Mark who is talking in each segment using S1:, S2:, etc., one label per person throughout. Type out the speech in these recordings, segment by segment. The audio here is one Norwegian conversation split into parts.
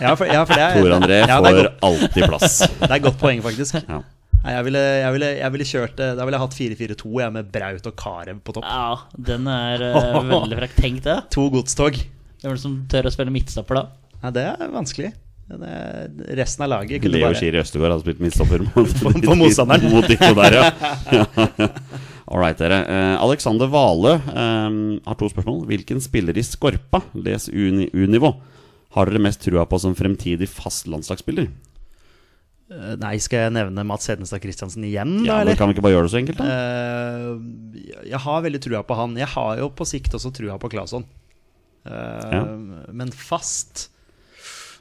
S1: Ja, for, ja, for det, er,
S2: Tor André
S1: ja, det, er
S2: får
S1: godt,
S2: alltid plass.
S1: det er godt poeng, faktisk.
S2: Ja.
S1: Nei, jeg, ville, jeg, ville, jeg ville kjørt eh, Da ville jeg hatt 4-4-2, jeg, med Braut og Carew på topp.
S3: Ja, den er eh, veldig frekk. Tenk det.
S1: To godstog.
S3: Hvem er det som tør å spille midtstopper da?
S1: Nei, det er vanskelig. Det er, resten av laget kunne
S2: Leo
S1: bare
S2: Skiri Østegård hadde spilt midtstopper mot,
S1: på motstanderen.
S2: mot de to der, ja. All right, dere. Eh, Alexander Vale eh, har to spørsmål. Hvilken spiller i Skorpa, les uni, U-nivå, har dere mest trua på som fremtidig fast landslagsspiller?
S1: Eh, Nei, skal jeg nevne Mats Hedenstad Christiansen igjen, Mm, da,
S2: Ja, men
S1: eller?
S2: kan vi ikke bare gjøre det så enkelt, da?
S1: Eh, jeg har veldig trua på han. Jeg har jo på sikt også trua på Claesson. Eh,
S2: Ja.
S1: Men fast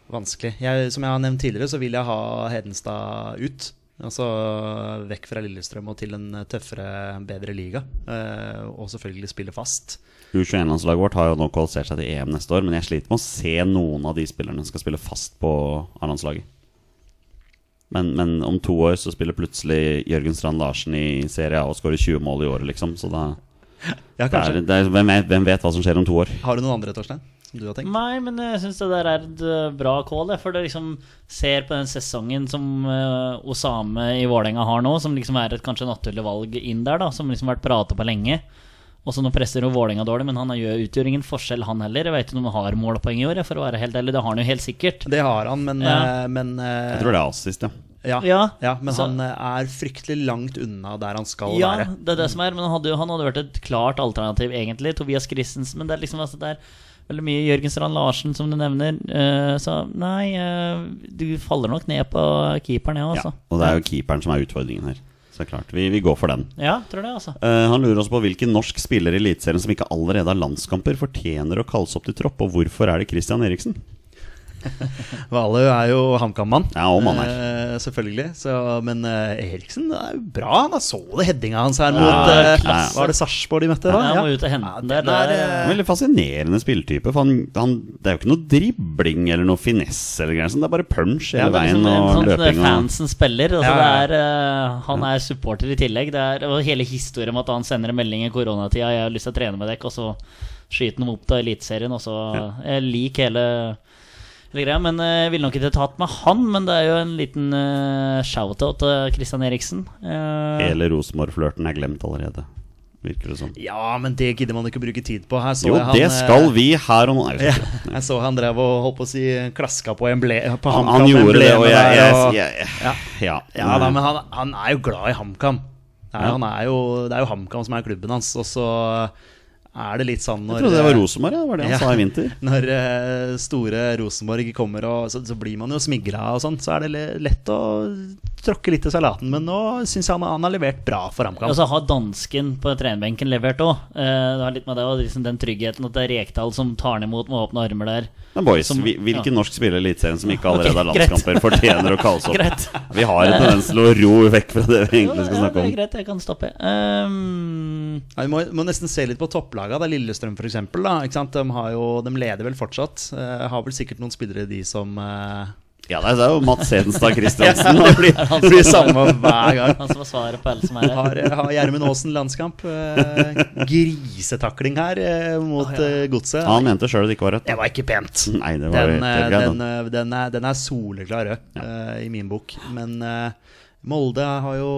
S1: Vanskelig. Jeg, som jeg har nevnt tidligere, så vil jeg ha Hedenstad ut. Altså vekk fra Lillestrøm og til en tøffere, bedre liga. Eh, og selvfølgelig spille fast.
S2: U21-landslaget vårt har jo nå kvalifisert seg til EM neste år, men jeg sliter med å se noen av de spillerne som skal spille fast på A-landslaget. Men, men om to år så spiller plutselig Jørgen Strand Larsen i Serie A og skårer 20 mål i året, liksom. Så da det
S1: Ja,
S2: er,
S1: kanskje.
S2: det er, hvem, vet, hvem vet hva som skjer om to år?
S1: Har du noen andre, Torstein? Som som du har tenkt?
S3: Nei, men jeg syns det der er et eh, bra call. jeg, For det liksom ser på den sesongen som eh, Osame i Vålerenga har nå, som liksom er et kanskje naturlig valg inn der, da, som liksom har vært prata på lenge. Også nå presser jo Vålerenga dårlig, men han gjør, utgjør ingen forskjell, han heller. Jeg vet ikke om han har målpoeng i år, jeg, for å være helt ærlig. Det har han jo helt sikkert.
S1: Det har han, men,
S3: Ja.
S1: eh, men eh,
S2: Jeg tror det er assist, ja.
S1: Ja,
S3: Ja,
S1: ja, men
S3: så-
S1: han eh, er fryktelig langt unna der han skal
S3: Ja,
S1: være.
S3: det er det som er. Men han hadde, jo- han hadde vært et klart alternativ, egentlig. Tobias Christensen. Men det er liksom altså, det er veldig mye Jørgen Strand Larsen, som du nevner. eh, så nei, eh, du faller nok ned på keeperen, ja,
S2: ja.
S3: altså.
S2: Og det er jo keeperen som er utfordringen her. Så det er klart, vi, vi går for den.
S3: Ja, tror det, altså.
S2: Eh, han lurer også på hvilken norsk spiller i Eliteserien som ikke allerede har landskamper, fortjener å kalles opp til tropp, og hvorfor er det Christian Eriksen?
S1: Valø er jo HamKam-mann.
S2: Ja, og mann
S1: Eh, selvfølgelig. Så, men eh, Eriksen er jo bra. Han så det headinga hans her mot
S3: Ja,
S1: eh,
S2: klasse.
S1: Var det Sarpsborg de møtte da?
S3: Ja, han må ut og hente den der. Det er,
S1: eh,
S2: Veldig fascinerende spilletype. For han, han, det er jo ikke noe dribling eller noe finesse. Eller greier, sånn, det er bare punch hele
S3: Ja, det er
S2: veien
S3: liksom en
S2: og
S3: sånn
S2: løping. Og,
S3: fansen spiller. Altså
S1: Ja, ja, ja.
S3: Det er, eh, han er supporter i tillegg. Det er, og hele historien om at han sender en melding i koronatida 'Jeg har lyst til å trene med dere', og så skyter han opp til Eliteserien. Og så Jeg liker hele, hele greia. Men eh, jeg ville nok ikke tatt med han, men det er jo en liten eh, shout-out til Christian Eriksen. Eh,
S2: hele Rosenborg-flørten er glemt allerede, virker det som.
S1: Ja, men det gidder man ikke å bruke tid på. Her så
S2: Jo,
S1: jeg han,
S2: det
S1: eh,
S2: skal vi her og nå. Nei, jeg skal ikke.
S1: Jeg så han drev og holdt på å si klaska på, emble, på
S2: Han,
S1: HamKam.
S2: han gjorde det, og
S1: emblemet
S2: jeg,
S1: der,
S2: jeg,
S1: og-
S2: jeg, Ja.
S1: Ja da, men han, han er jo glad i HamKam. Det er,
S2: Ja.
S1: han er jo, det er jo HamKam som er klubben hans, og så er det litt sånn når
S2: Jeg trodde det var Rosenborg, ja. det var det han
S1: Ja.
S2: sa i vinter.
S1: Når eh, store Rosenborg kommer, og så, så blir man jo smigra og sånn. Så er det le- lett å tråkke litt i salaten, men nå syns jeg han, han har levert bra for HamKam.
S2: Altså-
S3: Og så altså, har dansken på trenerbenken levert òg. Det har litt med det og liksom den tryggheten at det er Rekdal som tar han imot med åpne armer der.
S2: Men boys,
S3: Som-
S2: vi- hvilken norsk spiller i Eliteserien som ikke
S3: Ok,
S2: allerede har
S3: greit.
S2: landskamper, fortjener å kalles opp?
S3: Greit.
S2: Vi har en tendens til å ro vekk fra det vi egentlig skal
S3: Ja,
S2: snakke
S3: Det
S2: om.
S3: er greit, jeg kan stoppe. Ehm,
S1: Ja, Vi må, må nesten se litt på topplaga. Det er Lillestrøm for eksempel, da, ikke sant? De, har jo, de leder vel fortsatt. Eh, har vel sikkert noen spillere de som eh,
S2: Ja, det er jo Mats Hedenstad Christiansen.
S1: Det blir, det blir samme hver gang.
S3: han som var svaret altså, på alle som er her.
S1: Har eh, har Gjermund Aasen landskamp. Eh, grisetakling her eh, mot eh, godset.
S2: Han mente sjøl det ikke var rødt.
S1: Det var ikke pent.
S2: Nei, det var
S1: Den,
S2: jo
S1: eh,
S2: helt greit.
S1: den,
S2: da.
S1: eh, den, er, den er soleklar rød eh, i min bok. Men eh, Molde har jo,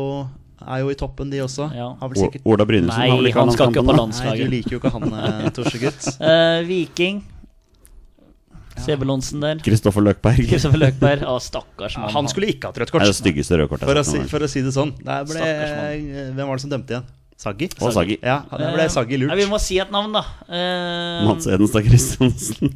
S1: er jo i toppen, de også.
S3: Ja.
S1: Har vel
S2: O-
S1: sikkert
S2: Ola Brynesen
S3: Nei,
S2: har vel ikke
S3: han skal ikke
S2: landskampen nå?
S3: på
S1: Nei, du
S3: landslaget.
S1: liker jo ikke han, eh, Torsegutt.
S3: Eh, Viking. Sebulonsen der.
S2: Kristoffer Løkberg er
S3: Kristoffer Løkberg. Å, stakkars mann.
S1: Han skulle ikke hatt rødt
S2: det altså.
S1: kort.
S2: styggeste røde kortet
S1: For å,
S2: jeg
S1: si,
S2: har sett. noen gang.
S1: for å si det sånn. Der ble,
S3: Stakkars
S1: hvem var det som dømte igjen? Saggi?
S2: Og Saggi.
S1: Ja, der ble
S3: Eh,
S1: Saggi lurt.
S3: Nei, vi må si et navn, da. Eh,
S2: Mats Hedenstad Christiansen.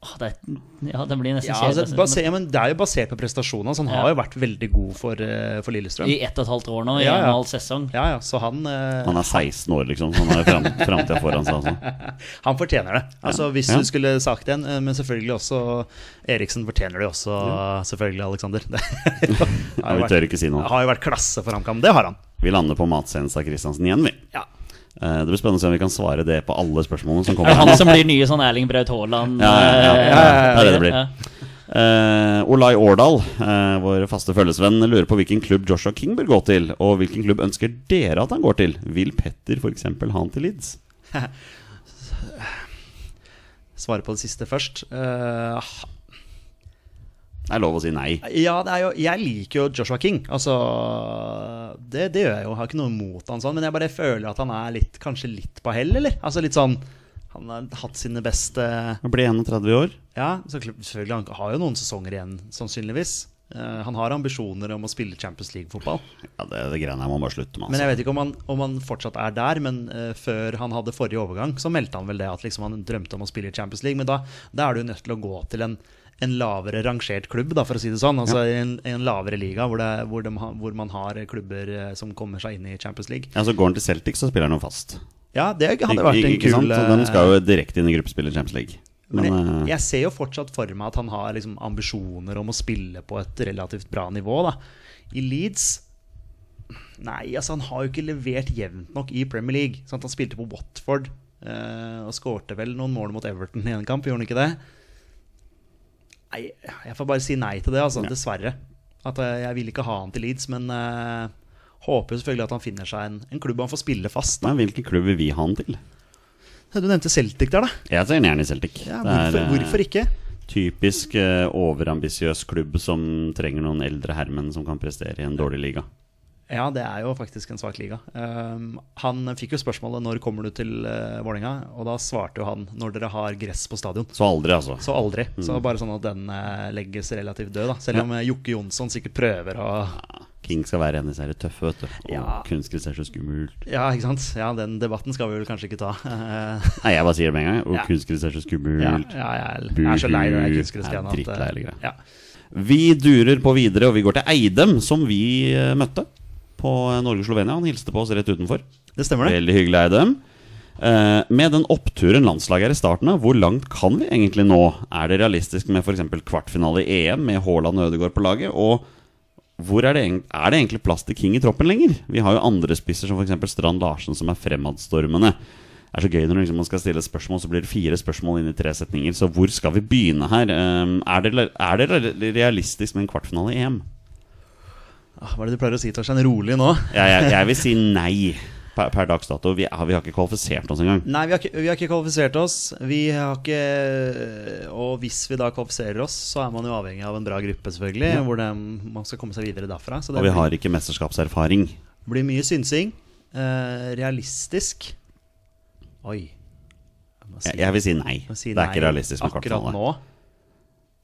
S3: åh, det er, ja, det blir nesten
S1: Ja,
S3: kjedelig,
S1: altså,
S3: men-
S1: baser, men det er jo basert på prestasjonene. Så han
S3: Ja.
S1: har jo vært veldig god for, eh, for Lillestrøm.
S3: I ett og et halvt år nå, i
S1: Ja, ja.
S3: en og en halv sesong.
S1: Ja, ja, så han, eh,
S2: Han er 16 år, liksom. så Han har fram, framtida foran seg. Altså.
S1: han fortjener det. Altså, Hvis
S2: Ja.
S1: du skulle sagt en, eh, men selvfølgelig også Eriksen fortjener det jo også, selvfølgelig, Aleksander. Det
S2: Ja, vi tør ikke si noe.
S1: har jo vært klasse for HamKam. Det har han.
S2: Vi lander på Mats Hedenstad Christiansen igjen, vi.
S1: Ja.
S2: Eh, Det blir spennende å se om vi kan svare det på alle spørsmålene som
S3: Er
S2: kommer.
S3: det
S2: her
S3: han
S2: nå.
S3: som blir nye sånn Erling Braut Haaland?
S2: Ja, ja, ja, ja, ja,
S3: eh,
S2: det er det det blir.
S3: ja.
S2: Eh, Olai Årdal, eh, vår faste følgesvenn, lurer på hvilken klubb Joshua King bør gå til. Og hvilken klubb ønsker dere at han går til? Vil Petter f.eks. ha han til Leeds?
S1: Svare på det siste først. Eh,
S2: Det er lov å si nei.
S1: Ja, det er jo, jeg liker jo Joshua King. Altså, det, det gjør jeg jo. Jeg har ikke noe imot han sånn, men jeg bare føler at han er litt, kanskje litt på hell, eller? Altså litt sånn Han har hatt sine beste
S2: Han ble 31 år.
S1: Ja, så klart- selvfølgelig, han har jo noen sesonger igjen, sannsynligvis. Eh, han har ambisjoner om å spille Champions League-fotball.
S2: Ja, Det, det greiene her må man bare slutte med.
S1: Men
S2: Altså.
S1: jeg vet ikke om han, om han fortsatt er der, men eh, før han hadde forrige overgang, så meldte han vel det at liksom han drømte om å spille i Champions League. Men da, da er du jo nødt til å gå til en, en lavere rangert klubb, da, for å si det sånn. Altså en, en lavere liga hvor, det, hvor, de, ha- hvor man har klubber eh, som kommer seg inn i Champions League.
S2: Ja, så Går han til Celtic, så spiller han jo fast.
S1: Ja, det hadde vært en
S2: ikke sant?
S1: kul
S2: Så
S1: eh,
S2: De skal jo direkte inn i gruppespillet i Champions League. Men,
S1: men jeg,
S2: eh,
S1: jeg ser jo fortsatt for meg at han har liksom ambisjoner om å spille på et relativt bra nivå. Da. I Leeds Nei, altså han har jo ikke levert jevnt nok i Premier League. Sant? Han spilte på Watford eh, og skårte vel noen mål mot Everton i en kamp, gjorde han ikke det? Nei, jeg får bare si nei til det, altså. Dessverre. At eh, jeg vil ikke ha han til Leeds, men eh, håper jo selvfølgelig at han finner seg en, en klubb han får spille fast. Da.
S2: men hvilken klubb vil vi ha han til?
S1: Du nevnte Celtic der, da.
S2: Jeg ser gjerne i Celtic.
S1: Ja,
S2: Det er,
S1: hvorfor,
S2: eh,
S1: hvorfor ikke?
S2: Typisk eh, overambisiøs klubb som trenger noen eldre herremenn som kan prestere i en dårlig liga.
S1: Ja, det er jo faktisk en svak liga. Ehm, han fikk jo spørsmålet 'Når kommer du til uh, Vålerenga?' Og da svarte jo han 'Når dere har gress på stadion'.
S2: Så aldri, altså.
S1: Så aldri. Så bare sånn at den eh, legges relativt død, da. Selv om eh, Jokke Jonsson sikkert prøver å
S2: King skal være en av disse her tøffe, vet du. Og
S1: Ja.
S2: kunstgress er så skummelt.
S1: Ja, ikke sant? Ja, den debatten skal vi vel kanskje ikke ta. Eh,
S2: Nei, jeg bare sier det med en gang. Og
S1: Ja.
S2: kunstgress er så skummelt.
S1: ja, ja, jeg er- jeg er så lei det
S2: Buhu.
S1: kunstgressgreiene.
S2: Jeg er drittlei hele greia.
S1: eh, ja.
S2: Vi durer på videre, og vi går til Eidem, som vi eh, møtte på eh, Norge-Slovenia. Han hilste på oss rett utenfor.
S1: Det stemmer, det.
S2: Veldig hyggelig, Eidem. Eh, med den oppturen landslaget er i starten av, hvor langt kan vi egentlig nå? Er det realistisk med f.eks. kvartfinale i EM med Haaland og Ødegaard på laget? Og hvor er det, egent- er det egentlig plass til King i troppen lenger? Vi har jo andre spisser som f.eks. Strand Larsen, som er fremadstormende. Det er så gøy når liksom man skal stille et spørsmål, så blir det fire spørsmål inn i tre setninger. Så hvor skal vi begynne her? Eh, Er det, er det realistisk med en kvartfinale i EM?
S1: Ah, Hva er det du pleier å si, Torstein? Rolig nå?
S2: Jeg, jeg, jeg vil si nei per, per dags dato. Vi, har- vi har ikke kvalifisert oss engang.
S1: Nei, vi har, ikke, vi har ikke kvalifisert oss. Vi har ikke Og hvis vi da kvalifiserer oss, så er man jo avhengig av en bra gruppe, selvfølgelig. Hvor det, man skal komme seg videre derfra. Så det
S2: Og vi
S1: blir,
S2: har ikke mesterskapserfaring.
S1: blir mye synsing. Eh, realistisk Oi. Jeg må si-
S2: Jeg, jeg vil si nei.
S1: jeg må si
S2: det er
S1: nei
S2: ikke realistisk med
S1: akkurat
S2: kvartfinale.
S1: nå.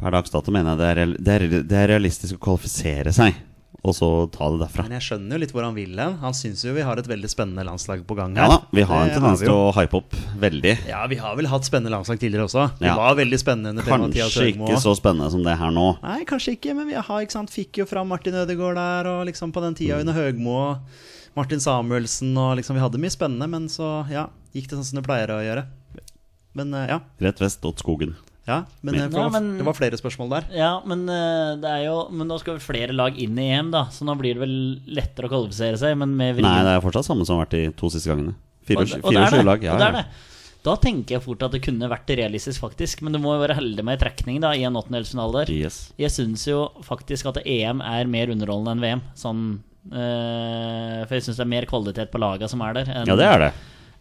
S2: Per dags dato mener jeg det er, real- det, er, det er realistisk å kvalifisere seg, og så ta det derfra.
S1: Men jeg skjønner jo litt hvor han vil hen. Han syns jo vi har et veldig spennende landslag på gang
S2: Ja
S1: her.
S2: da, vi har en
S1: Det
S2: tendens
S1: vi jo.
S2: til å hype opp veldig.
S1: Ja, vi har vel hatt spennende landslag tidligere også. Det
S2: Ja.
S1: var veldig spennende under Per-Mathias
S2: Kanskje
S1: Høgmo.
S2: ikke så spennende som det her nå.
S1: Nei, kanskje ikke, men vi har, ikke sant, fikk jo fram Martin Ødegaard der, og liksom på den
S3: Mm.
S1: tida under Høgmo og Martin Samuelsen, og liksom vi hadde mye spennende, men så ja, gikk det sånn som det pleier å gjøre. Men eh, ja.
S2: Rett vest åt skogen.
S1: ja men, eh, for,
S3: Ja, men-
S1: det var flere spørsmål der.
S3: Ja, men eh, det er jo Men nå skal vel flere lag inn i EM, da, så nå blir det vel lettere å kvalifisere seg, men med
S2: Nei,
S3: vrien.
S2: det er fortsatt samme som har vært de to siste gangene.
S3: Og-
S2: Fire
S3: og det er
S2: fire- sju
S3: det,
S2: lag. Ja,
S3: og det er
S2: ja.
S3: det. Da tenker jeg fort at det kunne vært realistisk, faktisk. Men du må jo være heldig med trekning da, i en åttendelsfinale der.
S2: Yes.
S3: Jeg syns jo faktisk at EM er mer underholdende enn VM. Sånn, eh, for jeg syns det er mer kvalitet på laga som er der, enn,
S2: ja, det er det.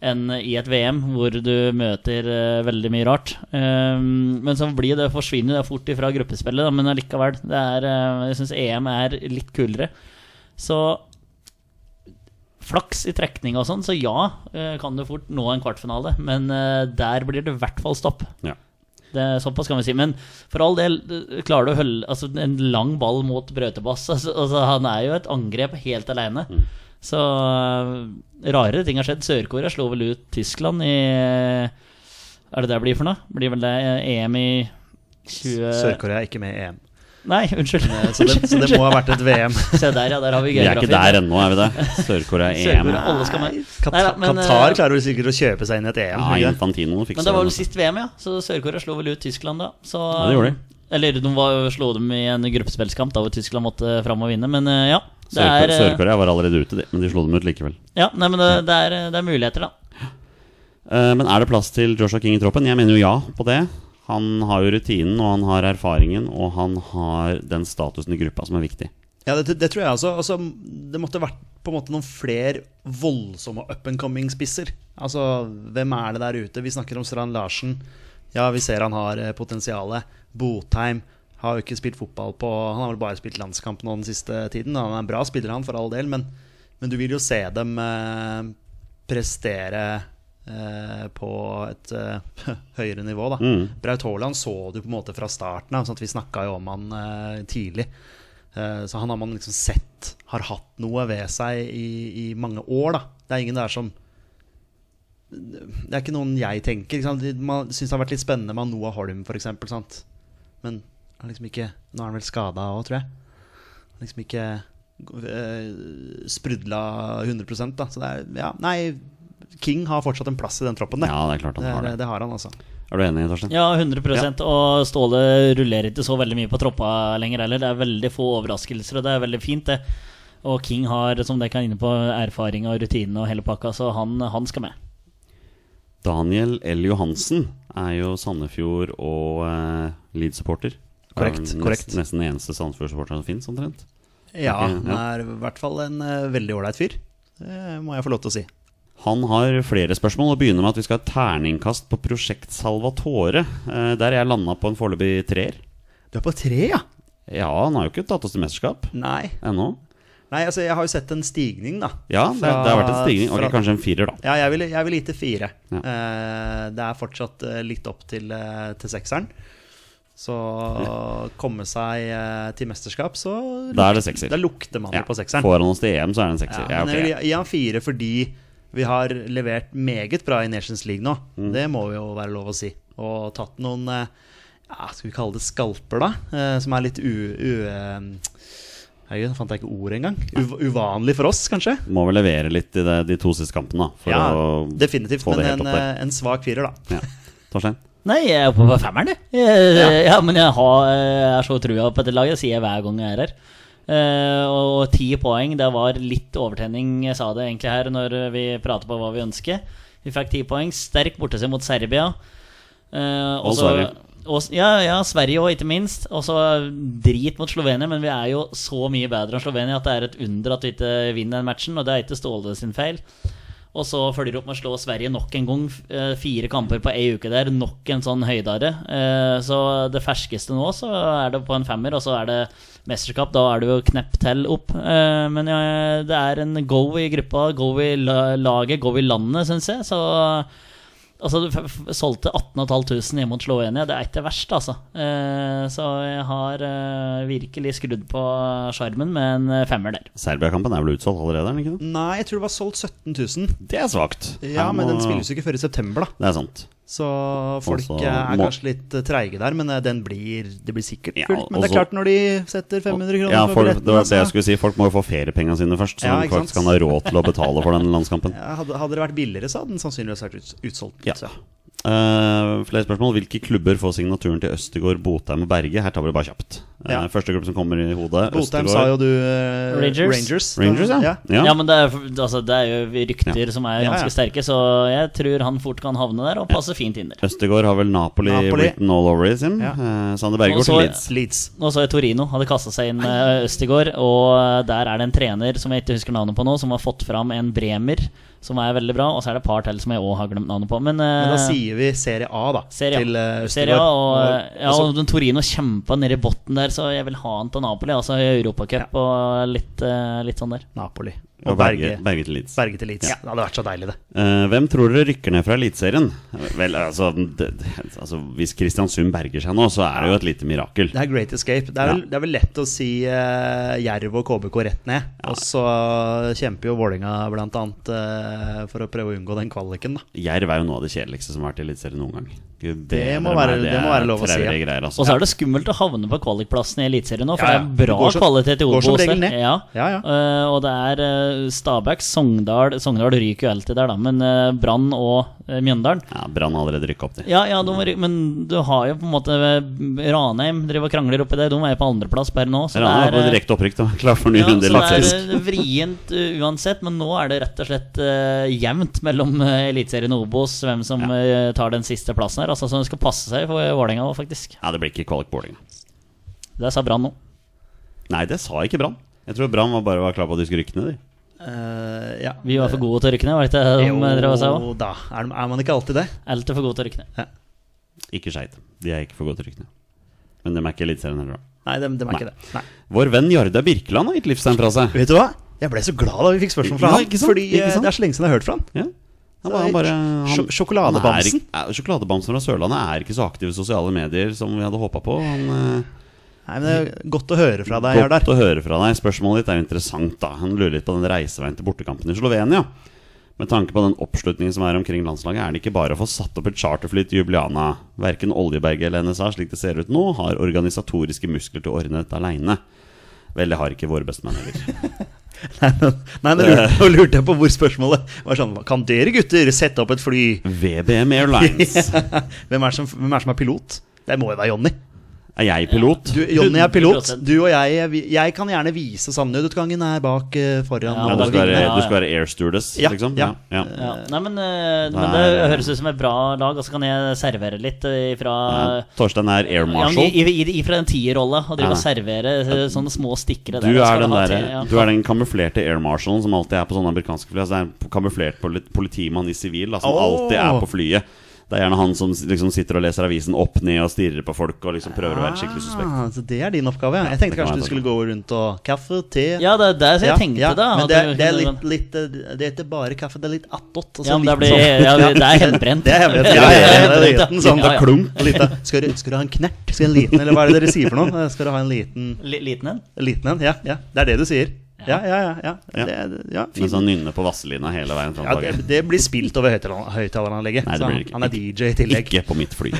S3: enn i et VM hvor du møter eh, veldig mye rart. Ehm, men så blir det, forsvinner det fort ifra gruppespillet, da, men allikevel. Det er, eh, jeg syns EM er litt kulere. Så flaks i trekning og sånn, så ja, eh, kan du fort nå en kvartfinale. Men eh, der blir det i hvert fall stopp.
S2: Ja.
S3: Det er såpass kan vi si. Men for all del, eh, klarer du å holde altså, en lang ball mot brøytebass? Altså, altså, han er jo et angrep helt alene.
S2: Mm.
S3: Så eh, rarere ting har skjedd. Sør-Korea slo vel ut Tyskland i Er det det blir for noe? Blir vel det eh, EM i 20...
S1: Sør-Korea er ikke med i EM,
S3: Nei, unnskyld.
S1: Eh, så det, så det må ha vært et VM.
S3: Se der, ja. Der har vi
S2: Vi er
S3: geografien.
S2: ikke der ennå, er vi det? Sør-Korea EM.
S3: Sør-Korea, alle skal med.
S1: Kat
S3: Nei, da, men, eh,
S1: Qatar klarer vel sikkert å kjøpe seg inn i et EM.
S2: Ja,
S1: ikke det?
S2: Infantino fikser
S3: Men det var vel
S2: det.
S3: sist VM, ja. Så Sør-Korea slo vel ut Tyskland, da. Så,
S2: det gjorde de.
S3: Eller de var, slo dem i en gruppespillskamp da hvor Tyskland måtte fram og vinne, men eh, ja. Det er,
S2: Sør-
S3: eh,
S2: Sør-Korea var allerede ute, de, men de slo dem ut likevel.
S3: ja, nei, men det, det, er, det er muligheter, da.
S2: Eh, Men er det plass til Joshua King i troppen? Jeg mener jo ja på det. Han har jo rutinen, og han har erfaringen, og han har den statusen i gruppa som er viktig.
S1: Ja, det, det tror jeg også. Altså, det måtte vært på en måte noen flere voldsomme up and coming-spisser. Altså, hvem er det der ute? Vi snakker om Strand Larsen. Ja, vi ser han har eh, potensialet. Botheim har jo ikke spilt fotball på Han har vel bare spilt landskamp nå den siste tiden. Han er en bra spiller, han, for all del, men, men du vil jo se dem eh, prestere eh, på et eh, høyere nivå, da.
S2: Mm.
S1: Braut Haaland så du på en måte fra starten av, sånn at vi snakka jo om han eh, tidlig. Eh, Så han har man liksom sett har hatt noe ved seg i, i mange år. da Det er ingen der som Det er ikke noen jeg tenker. Ikke sant? De- Man syns det har vært litt spennende med Noah Holm, f.eks. Men han liksom ikke Nå er han vel skada òg, tror jeg. Han Liksom ikke eh, sprudla 100 da. Så det er Ja, nei. King har fortsatt en plass i den troppen, det.
S2: Ja, det er klart han
S1: det,
S2: har
S1: det,
S2: det.
S1: det har han, altså.
S2: Er du enig, Torstein?
S3: Ja, 100 Og Ståle rullerer ikke så veldig mye på troppa lenger heller. Det er veldig få overraskelser, og det er veldig fint, det. Og King har, som dere kan inne på, erfaring og rutine og hele pakka, så han, han skal med.
S2: Daniel L. Johansen er jo Sandefjord og eh, Leeds-supporter.
S1: Korrekt,
S2: Er vel
S1: korrekt.
S2: Nest, nesten den eneste Sandefjord-supporteren som fins, omtrent.
S1: Ja,
S2: Ok,
S1: han er i hvert fall en eh, veldig ålreit fyr. Det må jeg få lov til å si.
S2: Han har flere spørsmål og begynner med at vi skal ha terningkast på Prosjekt Salvatore. Eh, Der er jeg landa på en foreløpig treer.
S1: Du er på tre, ja?
S2: Ja, han har jo ikke tatt oss til mesterskap
S1: Nei.
S2: ennå.
S1: Nei, altså, jeg har jo sett en stigning, da.
S2: Ja, det, det har vært en stigning. Ok,
S1: Fra-
S2: Kanskje en firer, da.
S1: Ja, jeg ville jeg ville gitt det fire.
S2: Ja.
S1: Eh, det er fortsatt eh, litt opp til, eh, til sekseren. Så komme seg eh, til mesterskap, så
S2: Da er det sekser.
S1: Da lukter man
S2: Ja.
S1: det på sekseren.
S2: Foran oss til EM, så er det en
S1: Ja,
S2: sekser. Ja,
S1: men jeg vil
S2: ok.
S1: gi- gi han fire fordi vi har levert meget bra i Nations League nå.
S2: Mm.
S1: Det må jo være lov å si. Og tatt noen eh, ja, Skal vi kalle det skalper, da? Eh, Som er litt u... u eh, Herregud, nå fant jeg ikke ordet engang. Uv- Uvanlig for oss, kanskje?
S2: Må vel levere litt i det, de to siste kampene, da. For
S1: ja,
S2: å
S1: definitivt.
S2: få
S1: Men
S2: det helt
S1: en,
S2: opp der.
S1: eh, en svak firer, da.
S2: Ja. Torstein?
S3: Nei, jeg er oppe på femmeren, jeg. jeg ja. men jeg har, jeg er så trua på dette laget, det sier jeg hver gang jeg er her. Eh, og ti poeng, det var litt overtenning, jeg sa det egentlig her når vi prater på hva vi ønsker. Vi fikk ti poeng, sterk borteseier mot Serbia. Eh,
S2: Og
S3: så-
S2: Sverige.
S3: Og, s- ja, ja, Sverige òg, ikke minst. Og så drit mot Slovenia, men vi er jo så mye bedre enn Slovenia at det er et under at vi ikke vinner den matchen, og det er ikke Ståle sin feil. Og så følger de opp med å slå Sverige nok en gang. f- eh, Fire kamper på ei uke der. Nok en sånn høydare. Eh, Så det ferskeste nå, så er det på en femmer, og så er det mesterskap. Da er det jo knepp til opp. Eh, Men ja, det er en go i gruppa, go i la- laget, go i landet, syns jeg. Så Altså, du f- f- solgte 18.500 hjemme mot Slovenia. Det er ikke verst, altså. Eh, Så jeg har eh, virkelig skrudd på sjarmen med en eh, femmer der.
S2: Serbia-kampen er vel utsolgt allerede, er den ikke det?
S1: Nei, jeg tror det var solgt 17 000.
S2: Det er svakt.
S1: Ja,
S2: Her
S1: men
S2: må-
S1: den spilles jo ikke før i september, da.
S2: Det er sant.
S1: Så folk
S2: Også
S1: eh, er
S2: Altså, må-
S1: kanskje litt eh, treige der, men eh, den blir, det blir sikkert
S2: Ja,
S1: fullt. men det er
S2: også-
S1: klart, når de setter 500 kroner
S2: Ja,
S1: for
S2: folk,
S1: billetten
S2: det var det
S1: altså.
S2: jeg skulle si. Folk må jo få feriepengene sine først, så
S1: Ja,
S2: de
S1: ikke
S2: faktisk kan
S1: sant?
S2: ha råd til å betale for den landskampen.
S1: Ja, hadde, hadde det vært billigere, så hadde den sannsynligvis vært ut, utsolgt. altså.
S2: Ja.
S1: Så.
S2: Eh, flere spørsmål. Hvilke klubber får signaturen til Østegård, Botheim og Berge? Her tar vi det bare kjapt. Eh,
S1: Ja.
S2: Første klubb som kommer i hodet.
S1: Botheim
S2: Østegård.
S1: sa jo du eh,
S3: Rangers.
S1: Rangers,
S2: Rangers, ja.
S1: ja.
S3: Ja, men det er, altså, det er jo rykter som er
S1: Ja, ja.
S3: ganske sterke, så jeg tror han fort kan havne der og passe fint inn der.
S2: Østegård har vel Napoli,
S1: Napoli.
S2: written all over it, sin.
S1: Ja.
S2: Eh, Sander Berge
S3: Og
S2: går til
S3: så-
S2: Leeds.
S1: Leeds.
S3: Nå så jeg Torino hadde kasta seg inn eh, Østigård, og eh, der er det en trener som jeg ikke husker navnet på nå, som har fått fram en bremer som er veldig bra, og så er det et par til som jeg òg har glemt navnet på. Men, eh,
S1: Men da sier vi Serie A, da.
S3: Serie A.
S1: Til eh,
S3: Serie A,
S1: Østergaard.
S3: og, eh, ja,
S1: og så-
S3: og den Torino kjempa nede i botten der, så jeg vil ha han til Napoli. Altså i Europacup og litt, eh, litt sånn der.
S1: Napoli. Og,
S2: Og
S1: Berge.
S2: Berge, Berge til Leeds.
S1: Berge til Leeds. Det hadde vært så deilig, det.
S2: Eh, hvem tror dere rykker ned fra Eliteserien? Vel, altså, det, altså Hvis Kristiansund berger seg nå, så er det jo et lite mirakel.
S1: Det er Great Escape. Det er, vel, det er vel lett å si eh, Jerv og KBK rett ned. Og så kjemper jo Vålinga blant annet eh, for å prøve å unngå den kvaliken, da.
S2: Jerv er jo noe av det kjedeligste som har vært i Eliteserien noen gang. Gud,
S1: Det må
S2: bedre
S1: være-
S2: meg,
S1: det må
S2: er
S1: være lov å si,
S2: traurige
S1: ja.
S2: Greier, altså.
S3: Og så er det skummelt å havne på kvalikplassen i Eliteserien nå, for
S1: Ja, ja.
S3: det er
S1: Det
S3: bra
S1: går så-
S3: kvalitet i
S1: går
S3: Obos.
S1: som regel
S3: der.
S1: ned.
S3: Ja.
S1: Ja, ja.
S3: Eh, og det er eh, Stabæk, Sogndal Sogndal ryker jo alltid der, da, men eh, Brann og eh, Mjøndalen
S2: Ja, Brann har allerede rykka opp, de.
S3: Ja, ja, de, var- men du har jo på en måte eh, Ranheim driver og krangler oppi det. De er jo på andreplass per nå. Så
S2: Eller han
S3: det
S2: er
S3: er,
S2: på
S3: eh,
S2: direkte opprykk, da. Klar for ny
S3: Ja, så
S2: runde i
S3: det
S2: Eliteserien.
S3: er eh, vrient eh, uansett, men nå er det rett og slett eh, jevnt mellom eh, Eliteserien og Obos hvem som eh, tar den siste plassen her. Altså, så det skal passe seg for Vålerenga òg, faktisk.
S2: Ja, det blir ikke kvalik på Vålerenga.
S3: Det sa Brann nå.
S2: Nei, det sa ikke Brann. Jeg tror Brann var bare var klar på at de skulle rykke ned, de.
S1: Eh, ja.
S3: Vi var for gode til å rykke ned, var det ikke det de drev og sa?
S1: Jo da, er, er man ikke alltid det?
S3: Alt er for gode til å rykke ned.
S2: Ikke Skeid. De er ikke for gode til å rykke ned. Men de er ikke Eliteserien heller, da.
S1: Nei, de, de er
S2: Nei.
S1: ikke det. Nei.
S2: Vår venn Jarda Birkeland har gitt livstegn fra seg.
S1: Vet du hva? Jeg ble så glad da vi fikk spørsmål fra
S2: Ja,
S1: han.
S2: ikke sant?
S1: Fordi eh,
S2: Ikke sant?
S1: det er så lenge siden jeg har hørt fra han.
S2: Ja. Han, bare- han bare, han,
S1: Sj- sjokoladebamsen.
S2: han er ikke- eh, Sjokoladebamsen fra Sørlandet er ikke så aktiv i sosiale medier som vi hadde håpa på. Han,
S1: Nei, men Det er godt å høre fra
S2: eh,
S1: deg,
S2: godt
S1: Jardar.
S2: å høre fra deg. Spørsmålet ditt er interessant. da Han lurer litt på den reiseveien til bortekampen i Slovenia. Med tanke på den oppslutningen som er omkring landslaget, er det ikke bare å få satt opp et charterfly til Jubliana. Verken Oljeberget eller NSA, slik det ser ut nå, har organisatoriske muskler til å ordne dette aleine. Vel, det har ikke våre bestemenn heller.
S1: Nei, nå lurte, nå lurte jeg på hvor spørsmålet var sånn Kan dere gutter sette opp et fly?
S2: VBM Airlines.
S1: Hvem er det som, hvem er, det som er pilot? Det må jo være Jonny.
S2: Er jeg pilot?
S1: Du, Jonny er pilot.
S3: 100%.
S1: Du og jeg vi- Jeg kan gjerne vise sånn nødutgangen er bak, eh, foran
S3: Ja,
S2: Ja,
S1: og
S2: du, skal være,
S1: vinner.
S3: ja,
S2: du skal være air stewardess,
S1: Ja,
S2: liksom?
S1: ja.
S2: ja.
S3: Ja. Nei, men, eh, men
S2: Nei,
S3: det
S2: nei, nei.
S3: høres ut som et bra lag, og så kan jeg servere litt eh,
S2: Ja.
S3: ifra
S2: Torstein er air
S3: ja,
S2: marshal.
S3: men i, i, i, fra den tierrolla og drive
S2: Ja.
S3: og servere eh, sånne små stikkere
S2: Du
S3: da skal
S2: er, den
S3: ha
S2: der,
S1: eh,
S3: te, ja.
S2: du er den kamuflerte air marshalen som alltid er på sånne amerikanske fly. Altså det er en kamuflert poli- politimann i sivil da, som
S1: Åh!
S2: alltid er på flyet. Det er gjerne han som s- liksom sitter og leser avisen opp ned og stirrer på folk og liksom prøver å være skikkelig suspekt.
S1: Ah, så det er din oppgave. ja. Jeg
S2: det kan
S1: tenkte kanskje
S2: være
S1: du skulle gå rundt og kaffe, te
S3: Ja, det er det jeg
S1: Ja,
S3: tenkte,
S1: ja,
S3: da.
S1: Men
S3: at
S1: det,
S3: du
S1: er- det er
S3: kunne-
S1: litt, litt eh, Det er ikke bare kaffe, det er litt attåt. og så
S3: Ja, men det
S1: liten
S3: blir,
S1: sånn-
S3: ja, det er hjemmebrent.
S1: Det er hemmelig.
S3: Ja,
S1: Ja,
S3: ja,
S1: ja,
S3: ja,
S1: det er
S3: ja.
S1: liten sånn
S3: Ja, ja.
S1: klunk. Lite. Skal, du, skal du ha en knert? Skal du ha en liten, eller hva er det dere sier for noe? Eh, Skal du ha en liten,
S3: Li- Liten en?
S1: liten en? Ja, ja, det er det du sier. Ja, ja, ja. ja.
S2: Ja.
S1: Det, er- ja,
S2: Mens
S1: fint.
S2: han nynner på Vazelina hele veien fram
S1: Ja,
S2: til
S1: det,
S2: dagen.
S1: det blir spilt over høyttaler- høyttaleranlegget.
S2: Nei, det
S1: så
S2: blir
S1: han-
S2: det ikke.
S1: Han er DJ i tillegg.
S2: Ikke på mitt fly.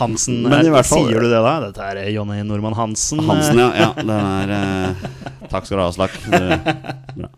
S1: Hansen,
S2: Men i
S1: eh,
S2: hvert fall-
S1: sier du det da? Dette er eh, Jonny Normann Hansen. eh,
S2: Hansen, ja. ja den er, eh, takk skal du ha, Slakk. Det- Bra.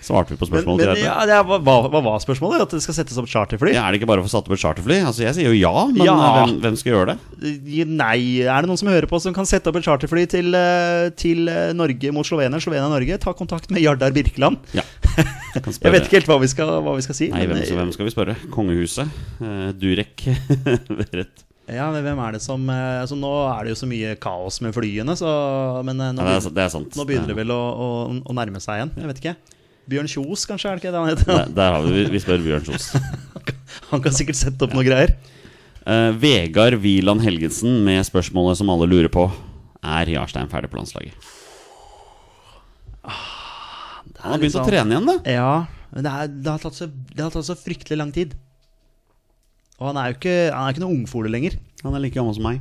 S2: Svarte vi på
S1: Men,
S2: spørsmålet til
S1: men
S2: Rødberg?
S1: ja, det er, hva, hva var spørsmålet? At det skal settes opp charterfly?
S2: Ja, er det ikke bare å få satt opp et charterfly? Altså, jeg sier jo ja, men eh,
S1: Ja.
S2: Hvem, hvem skal gjøre det?
S1: Nei, er det noen som hører på som kan sette opp et charterfly til, eh, til eh, Norge mot Slovenia? Slovenia og Norge, ta kontakt med Jardar Birkeland.
S2: Ja. Kan
S1: Jeg
S2: spørre-
S1: vet ikke helt hva vi skal, hva vi skal si.
S2: Nei,
S1: men,
S2: hvem, så hvem skal vi spørre? Kongehuset? Eh, Durek? Verrett?
S1: Ja, men hvem er det som eh, altså, Nå er det jo så mye kaos med flyene, så Men eh,
S2: Ja, det, er,
S1: nå, begynner,
S2: sant- det er sant.
S1: nå begynner det vel å, å, å nærme seg igjen. Jeg vet ikke. Bjørn Kjos, kanskje? er det ikke det han heter?
S2: Der, der har vi, vi- vi spør Bjørn Kjos.
S1: Han kan sikkert sette opp noen greier.
S2: Eh, Vegard Wieland Helgensen med spørsmålet som alle lurer på. Er Jarstein ferdig på landslaget? Han har begynt å
S1: liksom-
S2: trene igjen, da.
S1: Ja, men det, er, det, har tatt så, det har tatt så fryktelig lang tid. Og han er jo ikke, han er ikke noen ungfole lenger.
S2: Han er like gammel som meg.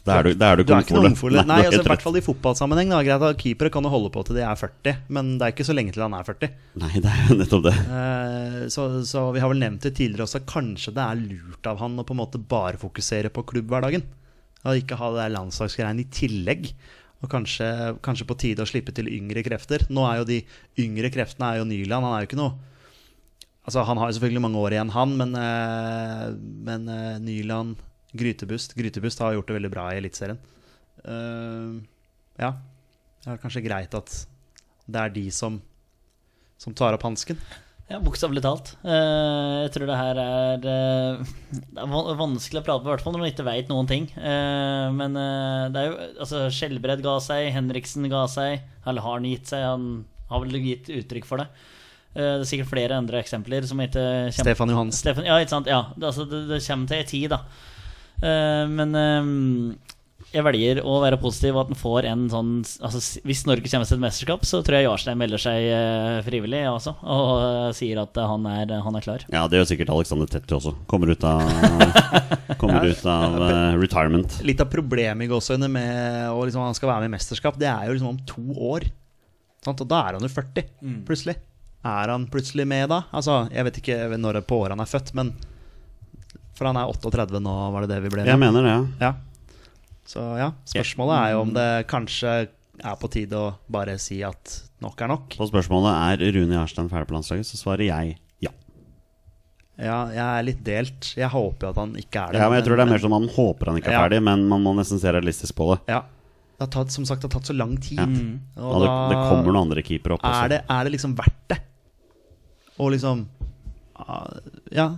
S2: Da er du, da er du
S1: Du er ikke noen ungfole. Nei,
S2: du er
S1: altså,
S2: helt
S1: I
S2: rett.
S1: hvert fall i fotballsammenheng. da, Greit at Keepere kan jo holde på til de er 40, men det er ikke så lenge til han er 40.
S2: Nei, det er jo nettopp det.
S1: Eh, Så, så vi har vel nevnt det tidligere også, kanskje det er lurt av han å på en måte bare fokusere på klubbhverdagen. Og ikke ha det der landslagsgreiene i tillegg. Og kanskje, kanskje på tide å slippe til yngre krefter. Nå er jo de yngre kreftene er jo Nyland. Han er jo ikke noe Altså, han har jo selvfølgelig mange år igjen, han, men, eh, men eh, Nyland, Grytebust Grytebust har gjort det veldig bra i Eliteserien. Eh, ja. Det er kanskje greit at det er de som, som tar opp hansken.
S3: Ja, Bokstavelig talt. Eh, jeg tror det her er eh, Det er van- vanskelig å prate med, i hvert fall når man ikke veit noen ting. Eh, men eh, det er jo Altså, Skjelbred ga seg, Henriksen ga seg. Eller har han gitt seg? Han har vel gitt uttrykk for det. Eh, det er sikkert flere andre eksempler som ikke kommer
S1: Stefan Johansen.
S3: Steffen, ja, ikke sant? Ja, det, altså, det, det kommer til ei tid, da. Eh, men eh, jeg velger å være positiv, og at den får en sånn altså, s- Hvis Norge kommer til et mesterskap, så tror jeg Jarstein melder seg eh, frivillig, jeg også. Og eh, sier at eh, han, er, han er klar.
S2: Ja, det gjør sikkert Alexander Tetti også. Kommer ut av, kommer ut av eh, retirement.
S1: Litt av problemet i gåsehudene med å liksom, han skal være med i mesterskap, det er jo liksom om to år. Sant? Og da er han jo 40, plutselig. Er han plutselig med da? Altså, Jeg vet ikke når på året han er født, men For han er 38 nå, var det det vi ble
S2: Jeg
S1: enige om?
S2: mener det, ja.
S1: Ja. Så ja, spørsmålet er jo om det kanskje er på tide å bare si at nok er nok.
S2: På spørsmålet er Rune Jarstein ferdig på landslaget, så svarer jeg ja.
S1: Ja, jeg er litt delt. Jeg håper jo at han ikke er det.
S2: ja men jeg tror det er mer som man håper han ikke er
S1: Ja.
S2: ferdig, men man må nesten se realistisk på det.
S1: Ja. Det har tatt, som sagt, det har tatt så lang tid.
S2: Ja.
S1: Og
S2: Da, det, det
S1: da-
S2: kommer noen andre keepere opp også.
S1: er det, er det liksom verdt det? Og liksom ah, Ja.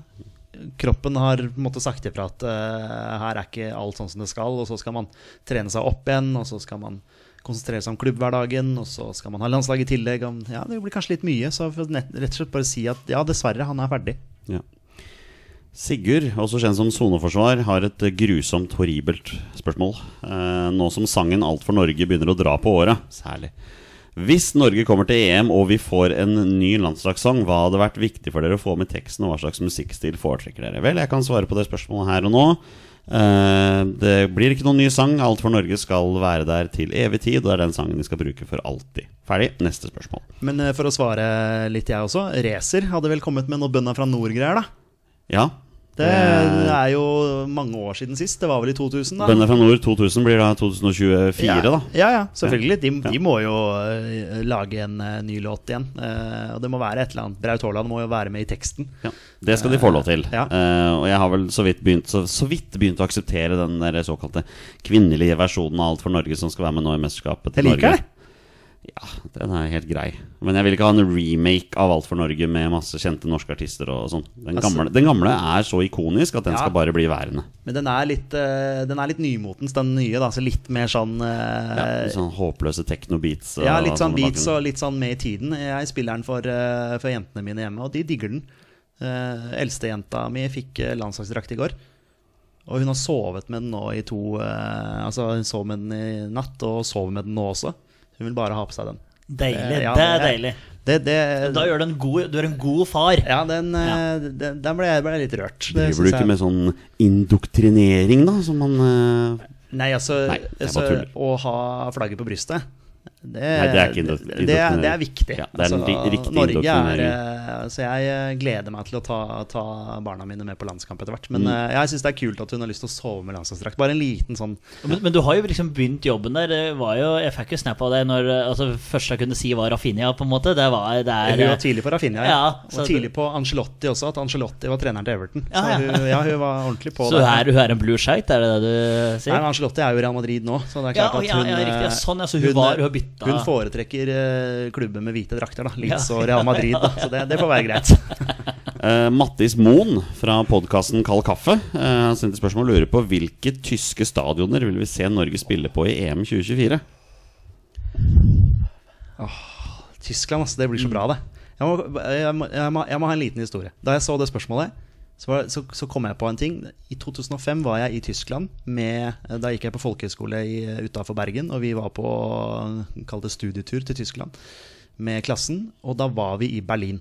S1: Kroppen har på en måte sagt ifra at eh, her er ikke alt sånn som det skal, og så skal man trene seg opp igjen, og så skal man konsentrere seg om klubbhverdagen, og så skal man ha landslag i tillegg. og Ja, det blir kanskje litt mye, så for nett, rett og slett bare si at ja, dessverre, han er ferdig.
S2: Ja. Sigurd, også kjent som soneforsvar, har et grusomt, horribelt spørsmål. Eh, nå som sangen 'Alt for Norge' begynner å dra på åra, særlig. Hvis Norge kommer til EM og vi får en ny landslagssang, hva hadde vært viktig for dere å få med teksten, og hva slags musikkstil foretrekker dere? Vel, jeg kan svare på det spørsmålet her og nå. Eh, det blir ikke noen ny sang. 'Alt for Norge' skal være der til evig tid, og det er den sangen vi skal bruke for alltid. Ferdig. Neste spørsmål.
S1: Men eh, for å svare litt, jeg også. Racer hadde vel kommet med noe bønda fra nord-greier, da?
S2: Ja,
S1: Det er jo mange år siden sist. Det var vel i 2000, da.
S2: Bønder fra nord 2000 blir da 2024, da.
S1: Ja, ja, selvfølgelig. De,
S2: Ja.
S1: de må jo eh, lage en eh, ny låt igjen. Eh, og det må være et eller annet Braut Haaland må jo være med i teksten.
S2: Ja, det skal de få lov til.
S1: Ja.
S2: Eh, og jeg har vel så vidt begynt, så, så vidt begynt å akseptere den der såkalte kvinnelige versjonen av Alt for Norge som skal være med nå i mesterskapet til
S1: Jeg liker
S2: Norge.
S1: det.
S2: Ja, den er helt grei. Men jeg vil ikke ha en remake av Alt for Norge med masse kjente norske artister og sånn. Den,
S1: Altså-
S2: gamle- den gamle er så ikonisk at den
S1: Ja.
S2: skal bare bli værende.
S1: Men den er litt, eh, den er litt nymotens, den nye. da Så litt mer sånn
S2: Ja,
S1: eh,
S2: litt sånn håpløse techno-beats. og
S1: Ja, litt sånn
S2: sånne
S1: beats
S2: bakgrunn.
S1: og litt sånn med i tiden. Jeg spiller den for, eh, for jentene mine hjemme, og de digger den. Uh, Eldstejenta mi fikk eh, landslagsdrakt i går. Og hun har sovet med den nå i to eh, Altså, hun sov med den i natt, og sover med den nå også. Hun vil bare ha på seg den.
S3: Deilig.
S1: Eh, ja,
S3: det er
S1: det er-
S3: deilig.
S1: Det, det,
S3: Da gjør du en god, du er en god far.
S1: ja, den, eh, den, den ble jeg ble jeg litt rørt. Det
S2: Driver
S1: synes
S2: du
S1: jeg-
S2: ikke med sånn indoktrinering, da? Som man eh,
S1: Nei, altså,
S2: Nei, jeg bare
S1: altså
S2: tuller.
S1: Å ha flagget på brystet det,
S2: Nei, det er ikke indo-
S1: det, det, er, det er viktig. Altså,
S2: Ja, det er en ri- riktig
S1: Norge er
S2: indoktrinering.
S1: eh, Så jeg eh, gleder meg til å ta, ta barna mine med på landskamp etter hvert. Men
S2: Mm.
S1: eh, jeg syns det er kult at hun har lyst til å sove med landslagsdrakt. Bare en liten sånn
S3: Men, men du har jo liksom begynt jobben der. Det var jo, jeg fikk jo snap av deg når eh, altså, første jeg kunne si var Rafinha, på en måte. Det var, det er,
S1: Hun var
S3: eh,
S1: tidlig på Rafinha.
S3: Ja, så
S1: og tidlig på Angelotti også, at Angelotti var treneren til Everton.
S3: Ja,
S1: Så
S3: ja.
S1: hun, ja, hun var ordentlig på
S3: så hun
S1: det.
S3: er, hun er en blue shite, er det det du
S1: Nei,
S3: sier?
S1: men Angelotti er jo i Real Madrid nå, så det er
S3: Ja,
S1: klart at
S3: ja,
S1: hun
S3: ja, riktig. Ja,
S1: eh,
S3: sånn, ja, så hun var- hun har bytta-
S1: hun foretrekker eh, klubber med hvite drakter, da. Leeds
S3: Ja.
S1: og Real Madrid, da. Så det, det får være greit.
S2: Eh, Mattis Moen fra podkasten Kald kaffe eh, sendte spørsmål og lurer på hvilke tyske stadioner vil vi se Norge spille på i EM 2024?
S1: Tyskland, altså. Det blir så
S2: Mm.
S1: bra, det. Jeg må, jeg, må, jeg, må, jeg må ha en liten historie. Da jeg så det spørsmålet, så, var, så, så kom jeg på en ting. I 2005 var jeg i Tyskland. Med, da gikk jeg på folkehøyskole utafor Bergen, og vi var på kall det studietur til Tyskland med klassen. Og da var vi i Berlin.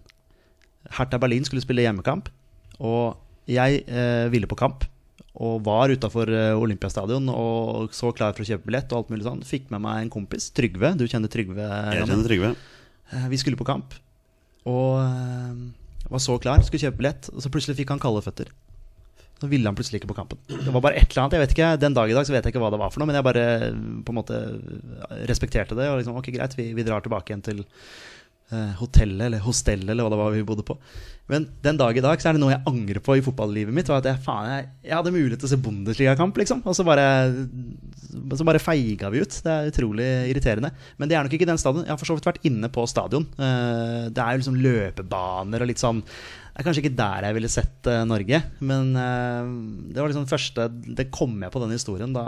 S1: Hertha Berlin skulle spille hjemmekamp, og jeg eh, ville på kamp. Og var utafor Olympiastadion og så klar for å kjøpe billett. og alt mulig sånn Fikk med meg en kompis, Trygve. Du kjenner Trygve?
S2: Jeg
S1: Janne.
S2: kjenner Trygve.
S1: Eh, Vi skulle på kamp, og eh, var så klar, skulle kjøpe billett, og så plutselig fikk han kalde føtter. Så ville han plutselig ikke på kampen. Det var bare et eller annet, jeg vet ikke, Den dag i dag så vet jeg ikke hva det var for noe, men jeg bare eh, på en måte respekterte det. Og liksom, ok, greit, vi, vi drar tilbake igjen til eh, hotellet, eller hostellet, eller hva det var vi bodde på. Men den dag i dag så er det noe jeg angrer på i fotballivet mitt. Var at jeg, faen, jeg, jeg hadde mulighet til å se Bundesliga-kamp, liksom. Og så bare, så bare feiga vi ut. Det er utrolig irriterende. Men det er nok ikke den stadion. Jeg har for så vidt vært inne på stadion. Eh, Det er jo liksom løpebaner og litt sånn det er kanskje ikke der jeg ville sett eh, Norge, men eh, det var liksom første Det kom jeg på den historien da,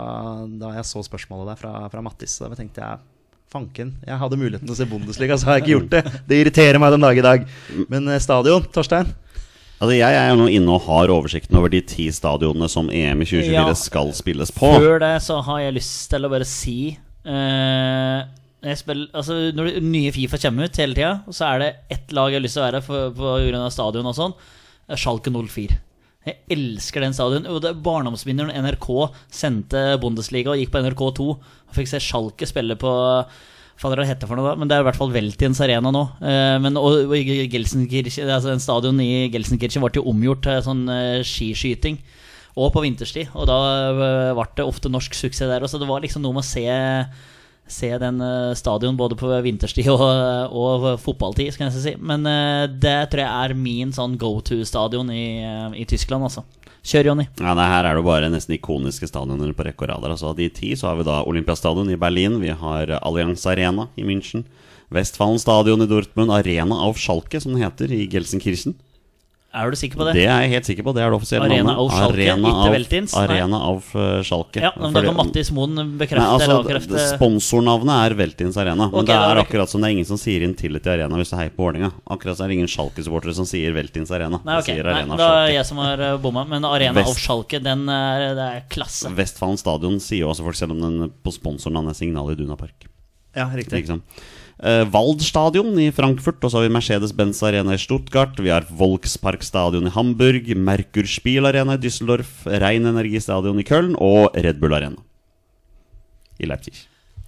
S1: da jeg så spørsmålet der fra, fra Mattis. Så Da tenkte jeg Fanken, jeg hadde muligheten til å se Bundesliga, så har jeg ikke gjort det. Det irriterer meg den dag i dag. Men eh, stadion, Torstein?
S2: Altså Jeg er jo nå inne og har oversikten over de ti stadionene som EM i 2024
S3: Ja.
S2: skal spilles på.
S3: Før det så har jeg lyst til å bare si eh, jeg spiller, altså, Når det- nye Fifa kommer ut hele tida, så er det ett lag jeg har lyst til å være for- på grunn av stadion og sånn. eh, Schalke 04. Jeg elsker den stadion. Og det er Barndomsvinneren NRK sendte Bundesliga og gikk på NRK2 og fikk se Schalke spille på Fader, hva det heter for noe da? Men det er i hvert fall Veltiens arena nå. Eh, men, og, og i Gelsenkirchen, altså en stadion i Gelsenkirchen ble jo omgjort til sånn eh, skiskyting. Og på vinterstid. Og da eh, ble det ofte norsk suksess der også. Det var liksom noe med å se, se den eh, stadion både på vinterstid og, eh, og fotballtid, skal jeg nesten si. Men eh, det tror jeg er min sånn go to-stadion i, eh, i Tyskland, altså. Kjør, Jonny.
S2: Ja, nei, Her er det jo bare nesten ikoniske stadioner på rekke og rad. Altså, av de ti så har vi da Olympiastadion i Berlin, vi har Allianz Arena i München, Westfallen Stadion i Dortmund, Arena auf Schalke, som den heter, i Gelsenkirchen.
S3: Er du sikker på
S2: Det
S3: det?
S2: er jeg helt sikker på. Det er det offisielle
S3: Arena
S2: navnet.
S3: auf Schalke, ikke
S2: av-
S3: Veltins, nei.
S2: Arena av eh, Schalke.
S3: ja, men da
S2: Fordi-
S3: kan Mattis Moen bekrefte
S2: Nei, altså,
S3: eller avkrefte.
S2: det- Sponsornavnet er Veltins Arena. Men det
S3: Ok, da
S2: er
S3: er det-
S2: akkurat som det er ingen som sier inn til et i Arena hvis du heier på Vålerenga. Akkurat så er det ingen Schalke-supportere som sier Veltins Arena.
S3: Nei,
S2: De
S3: ok.
S2: sier
S3: Nei,
S2: Arena
S3: da er
S2: Schalke.
S3: jeg som har eh, bomma. Men Arena
S2: Vest-
S3: av Schalke, den er, det er klasse.
S2: Vestfallen Stadion sier jo også folk, selv om den på sponsornavnet er Signal i Duna Park.
S1: Ja,
S2: Ikke sant? Eh, Wald Stadion i Frankfurt, og så har vi Mercedes-Benz Arena i Stuttgart. Vi har Volkspark Stadion i Hamburg, Merkur Spiel Arena i Düsseldorf, Rein Energi Stadion i Köln og Red Bull Arena i Leipzig.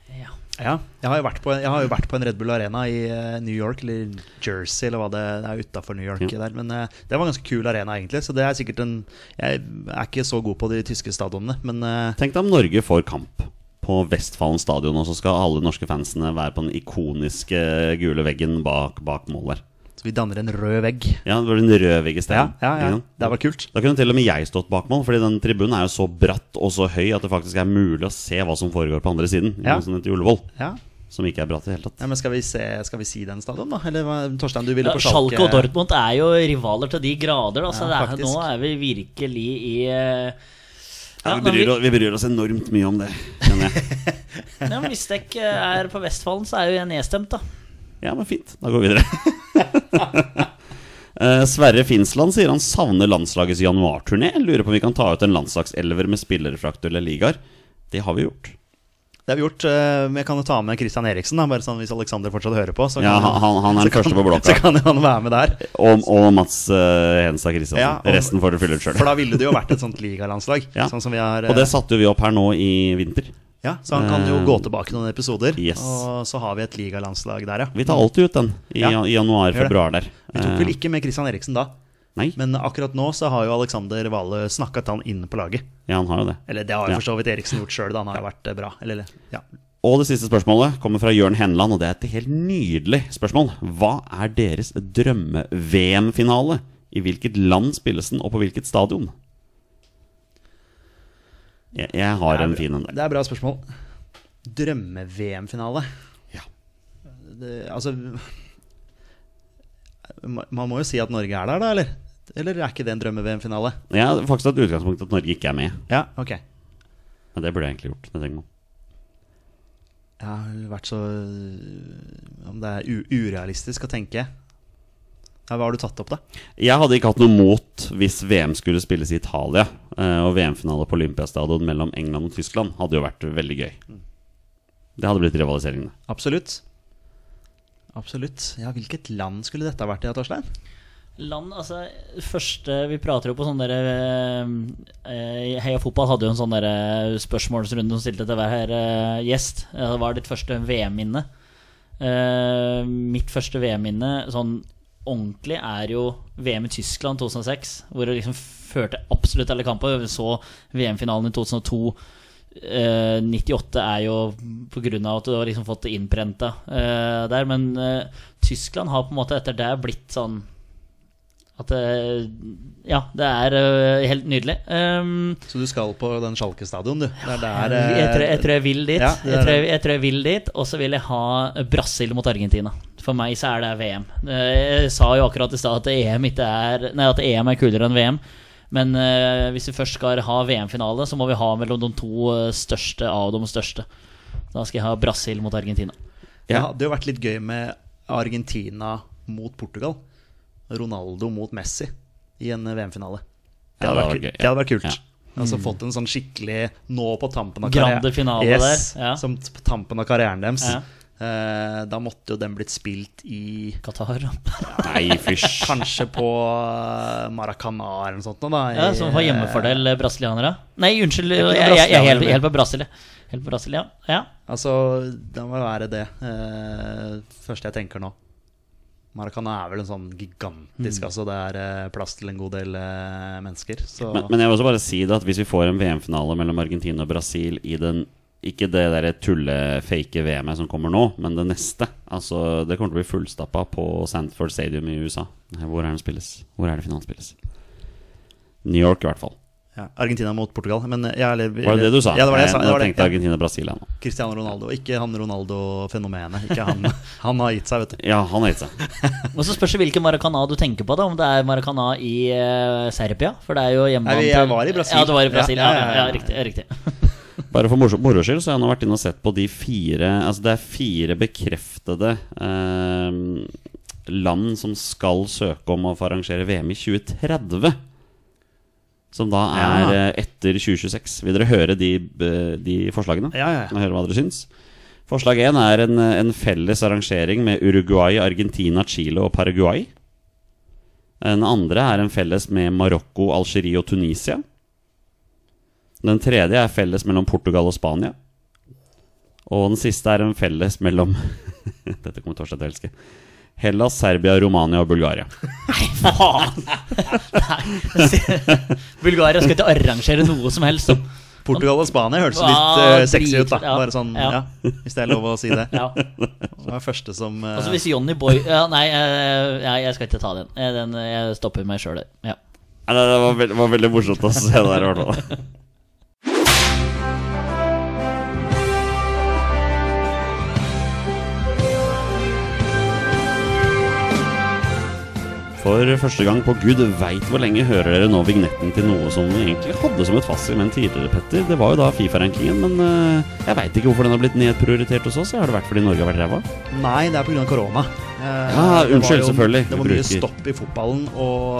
S3: Ja.
S1: Ja, jeg har, jo vært på, jeg har jo vært på en Red Bull Arena i eh, New York, eller Jersey, eller hva det, det er utafor New York. der Men eh, det var en ganske kul arena, egentlig. Så det er sikkert en Jeg er ikke så god på de tyske stadionene, men eh,
S2: Tenk deg om Norge får kamp på Vestfallen stadion, og så skal alle norske fansene være på den ikoniske gule veggen bak, bak mål der.
S1: så vi danner en rød vegg.
S2: Ja, det var den rødvegge
S1: Ja,
S2: steinen.
S1: ja, ja.
S2: ikke sant?
S1: Det var kult.
S2: Da kunne til og med jeg stått bak mål, fordi den tribunen er jo så bratt og så høy at det faktisk er mulig å se hva som foregår på andre siden.
S1: Ja.
S2: Ja. Sånn til Ullevål,
S1: Ja.
S2: som ikke er bratt i det hele tatt.
S1: ja, Men skal vi, se, skal vi si den stadion, da? Eller hva, Torstein, du ville
S3: Ja,
S1: på
S3: Schalke og Dortmund er jo rivaler til de grader. Da, så
S1: Ja,
S3: det er,
S1: faktisk.
S3: nå er vi virkelig i eh,
S2: Ja,
S3: ja,
S2: vi, bryr,
S3: men,
S2: oss- vi bryr oss enormt mye om det, kjenner jeg.
S3: vi- ja, men hvis dere ikke er på Vestfallen, så er jo jeg nedstemt, da.
S2: Ja, men fint. Da går vi videre. Eh, Sverre Finsland sier han savner landslagets januarturné. Lurer på om vi kan ta ut en landslagselver med spillere fra aktuelle ligaer. Det har vi gjort.
S1: Det har vi gjort. eh, men Jeg kan jo ta med Christian Eriksen, da, bare sånn hvis Alexander fortsatt hører på. Så
S2: Ja,
S1: kan
S2: han, han- han er den første på
S1: så
S2: blokka.
S1: kan jo han være med der.
S2: Og, og Mats eh, Henstad Christiansen.
S1: Ja, og-
S2: Resten får du fylle ut sjøl.
S1: For da ville det jo vært et sånt ligalandslag.
S2: Ja.
S1: Sånn som vi har eh,
S2: Og det satte jo vi opp her nå i vinter.
S1: Ja, så han kan jo
S2: Eh,
S1: gå tilbake noen episoder.
S2: yes.
S1: Og så har vi et ligalandslag der, ja.
S2: Vi tar alltid ut den i,
S1: Ja.
S2: i januar-februar der.
S1: Vi tok vel
S2: Eh,
S1: ikke med Christian Eriksen da,
S2: Nei,
S1: men akkurat nå så har jo Alexander Vale snakket han inn på laget.
S2: ja, han har jo det.
S1: Eller det har jo
S2: Ja.
S1: for så vidt Eriksen gjort sjøl, da. Han har jo vært eh, bra. Eller, eller, ja.
S2: Og det siste spørsmålet kommer fra Jørn Henland, og det er et helt nydelig spørsmål. Hva er deres drømme-VM-finale? I hvilket land spilles den, og på hvilket stadion? Jeg, jeg har en fin en der.
S1: Det er bra spørsmål. Drømme-VM-finale.
S2: Ja.
S1: Det, altså ma- Man må jo si at Norge er der, da, eller? Eller er ikke det en drømme-VM-finale?
S2: Jeg har faktisk hatt utgangspunkt at Norge ikke er med.
S1: Ja, ok.
S2: Men det burde jeg egentlig gjort. Det tenker man.
S1: Jeg har vært så Om det er u urealistisk å tenke ja, Hva har du tatt opp, da?
S2: Jeg hadde ikke hatt noe mot hvis VM skulle spilles i Italia, eh, og VM-finale på Olympiastadion mellom England og Tyskland hadde jo vært veldig gøy. Det hadde blitt rivalisering. det.
S1: Absolutt. Absolutt. Ja, hvilket land skulle dette ha vært i, da, Torstein?
S3: Land, altså Første Vi prater jo på sånn derre eh, Heia fotball hadde jo en sånn derre spørsmålsrunde som stilte til hver eh, gjest. Eh, Hva er ditt første VM-minne? Eh, mitt første VM-minne sånn ordentlig er jo VM i Tyskland 2006, hvor det liksom førte absolutt alle kamper. Vi så VM-finalen i 2002. Eh, 98 er jo på grunn av at du har liksom fått det innprenta eh, der, men eh, Tyskland har på en måte etter det blitt sånn at eh, Ja, det er eh, helt nydelig. Um,
S1: Så du skal på den Schalke-stadion, du? Det er der eh,
S3: jeg, tror, jeg tror jeg vil dit.
S1: Ja, det er
S3: jeg, tror jeg, jeg tror jeg vil dit, og så vil jeg ha Brasil mot Argentina. For meg så er det VM. Eh, Jeg sa jo akkurat i stad at EM ikke er Nei, at EM er kulere enn VM. Men eh, hvis vi først skal ha VM-finale, så må vi ha mellom de to eh, største av de største. Da skal jeg ha Brasil mot Argentina.
S1: Det
S2: Ja.
S1: hadde jo vært litt gøy med Argentina mot Portugal. Ronaldo mot Messi i en VM-finale.
S2: Ja, det hadde vært
S1: ku-
S2: gøy, ja.
S1: det hadde vært kult.
S2: Ja.
S1: Altså Fått en sånn skikkelig nå på tampen av
S3: Grande
S1: karrieren-
S3: finale
S1: yes,
S3: der, ja.
S1: Som t- på tampen av karrieren deres.
S3: Ja.
S1: Eh, da måtte jo den blitt spilt i
S3: Qatar.
S2: Nei, fysj.
S1: Kanskje på eh, Maracana eller noe sånt. nå Da, i-
S3: Ja, som har hjemmefordel, eh, brasilianere. Nei, unnskyld, jeg, jeg, jeg, er helt- helt på Brasil. jeg. Helt på Brasil, ja. ja.
S1: Altså, det må være det eh, første jeg tenker nå. Maracana er vel en sånn gigantisk altså Det er eh, plass til en god del eh, mennesker. Så
S2: Men, men jeg vil også bare si det at hvis vi får en VM-finale mellom Argentina og Brasil i den ikke det der tulle-fake VM-et som kommer nå, men det neste. Altså, Det kommer til å bli fullstappa på Sandford Stadium i USA. Hvor er den spilles? Hvor er det finalen spilles? New York, i hvert fall.
S1: ja, Argentina mot Portugal. Men eh, jeg, eller,
S2: Var det det du sa? Eh,
S1: Ja, det var det jeg sa.
S2: Nå
S1: Det var det.
S2: tenkte jeg
S1: Ja.
S2: Argentina og Brasil jeg nå.
S1: Cristiano Ronaldo. Ikke han Ronaldo-fenomenet. Ikke han, han har gitt seg, vet du.
S2: Ja, han het seg.
S3: Og så spørs det hvilken Maracana du tenker på, da. Om det er Maracana i eh, Serbia? For det er jo hjemmebanen
S1: Nei, jeg
S3: til-
S1: var i Brasil.
S3: Ja, du var i Brasil. Ja,
S1: Ja, ja, ja, ja.
S3: riktig. ja, riktig.
S2: Bare for moro moro skyld så har jeg nå vært inne og sett på de fire Altså det er fire bekreftede eh, land som skal søke om å få arrangere VM i 2030. Som da er eh, etter 2026. Vil dere høre de, eh, de forslagene?
S1: Ja, ja, ja.
S2: Og høre hva dere syns? Forslag én er en, eh, en felles arrangering med Uruguay, Argentina, Chile og Paraguay. Den andre er en felles med Marokko, Algerie og Tunisia. Den tredje er felles mellom Portugal og Spania. Og den siste er en felles mellom Dette kommer Torstein til å elske. Hellas, Serbia, Romania og Bulgaria.
S3: Faen! Nei. Bulgaria skal ikke arrangere noe som helst.
S1: Portugal og Spania hørtes litt
S3: Ah,
S1: eh, sexy ut, da.
S3: drit, ja.
S1: Bare sånn,
S3: Ja.
S1: ja. Hvis det er lov å si det.
S3: Ja.
S1: Det var første som eh,
S3: Altså hvis Johnny Boy ja, Nei, eh, nei, jeg skal ikke ta den. Eh, den eh, jeg stopper meg sjøl der. Ja.
S2: Nei, nei, Det var, veld, var veldig morsomt å se det der, i hvert fall. For første gang på gud veit hvor lenge hører dere nå vignetten til noe som vi egentlig hadde som et fastsegment tidligere, Petter. Det var jo da Fifa-rankingen, men eh, jeg veit ikke hvorfor den har blitt nedprioritert hos oss. Har det vært fordi Norge har vært ræva?
S1: Nei, det er pga. korona. Eh,
S2: Ja,
S1: det var
S2: Ah, unnskyld, selvfølgelig.
S1: Det
S2: Vi
S1: var mye
S2: bruker-
S1: stopp i fotballen, og,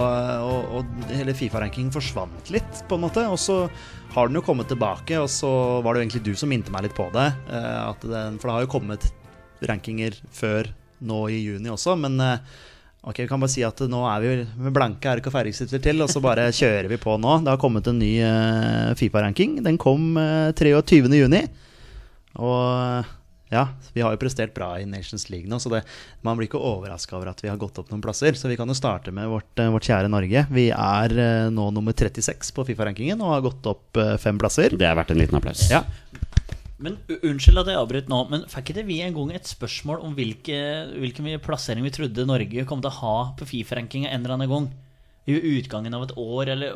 S1: og, og hele Fifa-rankingen forsvant litt, på en måte. Og så har den jo kommet tilbake, og så var det jo egentlig du som minte meg litt på det. eh, At den, for det har jo kommet rankinger før nå i juni også, men eh, Ok, vi kan bare si at nå er vi med blanke ark og fargestifter til, og så bare kjører vi på nå. Det har kommet en ny eh, Fifa-ranking. Den kom eh, 23. juni. Og eh, ja, vi har jo prestert bra i Nations League nå, så det, man blir ikke overraska over at vi har gått opp noen plasser. Så vi kan jo starte med vårt, eh, vårt kjære Norge. Vi er eh, nå nummer 36 på Fifa-rankingen og har gått opp eh, fem plasser.
S2: Det er verdt en liten applaus.
S1: Ja.
S3: Men u- Unnskyld at jeg avbryter nå, men fikk ikke vi en gang et spørsmål om hvilke, hvilken vi- plassering vi trodde Norge kom til å ha på Fifa-rankinga en eller annen gang? I utgangen av et år, eller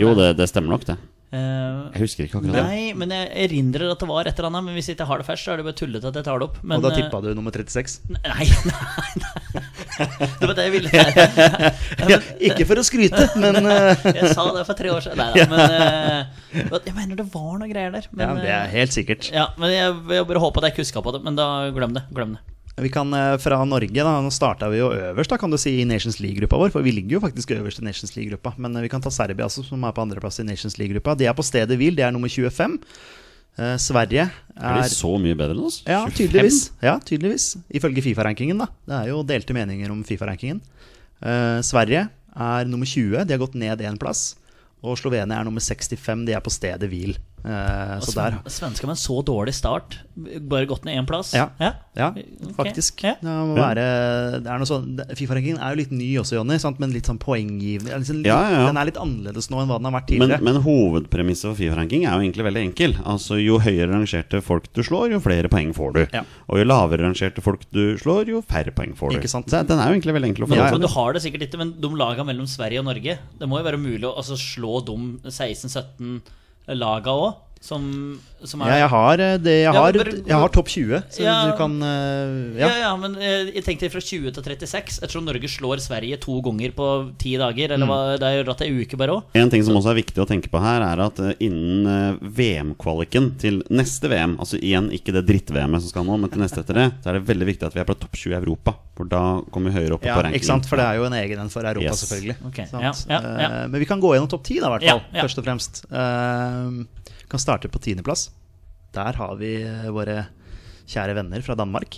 S2: Jo, det, det stemmer nok, det.
S3: Eh,
S2: Jeg husker ikke akkurat det.
S3: Nei, men jeg erindrer at det var et eller annet. Men hvis jeg ikke har det først, så er det bare tullete at jeg tar det opp. Men,
S1: og da
S3: eh,
S1: tippa du nummer 36.
S3: Nei, nei, nei. Det var det jeg ville.
S1: Ja, ikke for å skryte, men eh,
S3: Jeg sa det for tre år siden. Nei da, men eh, Jeg mener det var noe greier der. Men,
S1: ja, Det er helt sikkert.
S3: eh, ja, men jeg, jeg bare håper at jeg ikke huska på det. Men da glem det. Glem det.
S1: Vi kan eh, fra Norge, da, nå starta vi jo øverst da, kan du si, i Nations League-gruppa vår. For vi ligger jo faktisk øverst i Nations League-gruppa. Men eh, vi kan ta Serbia, altså, som er på andreplass i Nations League-gruppa. De er på stedet hvil, det er nummer 25. Eh, Sverige
S2: Er de
S1: er
S2: så mye bedre enn oss?
S1: ja
S2: 25?
S1: tydeligvis. ja, tydeligvis. Ifølge Fifa-rankingen, da. Det er jo delte meninger om Fifa-rankingen. Eh, Sverige er nummer 20, de har gått ned én plass. Og Slovenia er nummer 65, de er på stedet hvil. Eh, så der
S3: Svensker med en så dårlig start, bare gått ned én plass.
S1: Ja.
S3: ja.
S1: Ja,
S3: Ok,
S1: faktisk.
S3: ja.
S1: Det må
S2: Ja.
S1: være, det er noe sånn, det- Fifa-rankingen er jo litt ny også, Jonny, sant? men litt sånn poenggivende. det er Liksom,
S2: Ja, ja, ja.
S1: Den er litt annerledes nå enn hva den har vært
S2: Men,
S1: tidligere.
S2: men hovedpremisset for Fifa-ranking er jo egentlig veldig enkel. Altså Jo høyere rangerte folk du slår, jo flere poeng får du.
S1: Ja.
S2: Og jo lavere rangerte folk du slår, jo færre poeng får du.
S1: Ikke sant?
S2: Så Den er jo egentlig veldig enkel å
S3: Men,
S2: forholde
S3: men
S2: seg
S3: du
S2: til.
S3: har det sikkert ikke, men de laga mellom Sverige og Norge Det må jo være mulig å altså, slå de 16-17 laga òg, som, som
S1: ja,
S3: er
S1: jeg har, eh, det, jeg
S3: Ja,
S1: har,
S3: men bare-
S1: jeg har topp 20, så
S3: Ja.
S1: du kan eh,
S3: Ja.
S1: ja.
S3: ja, men eh, jeg tenkte fra 20 til 36. Jeg tror Norge slår Sverige to ganger på ti dager. Eller hva, det er jo dratt ei uke bare òg.
S2: En ting som også er viktig å tenke på her, er at eh, innen eh, VM-kvaliken til neste VM, altså igjen ikke det dritt-VM-et som skal nå, men til neste etter det, så er det veldig viktig at vi er på topp 20 i Europa. For da kommer vi høyere opp
S1: Ja,
S2: på rankingen.
S1: ikke sant? For det er jo en egen en for Europa,
S2: Yes.
S1: selvfølgelig.
S3: Ok,
S1: Sant?
S3: ja, ja, ja.
S1: Eh, Men vi kan gå gjennom topp ti, da, i hvert fall.
S3: Ja, ja.
S1: Først og fremst. Eh, kan starte på tiendeplass. Der har vi eh, våre kjære venner fra Danmark,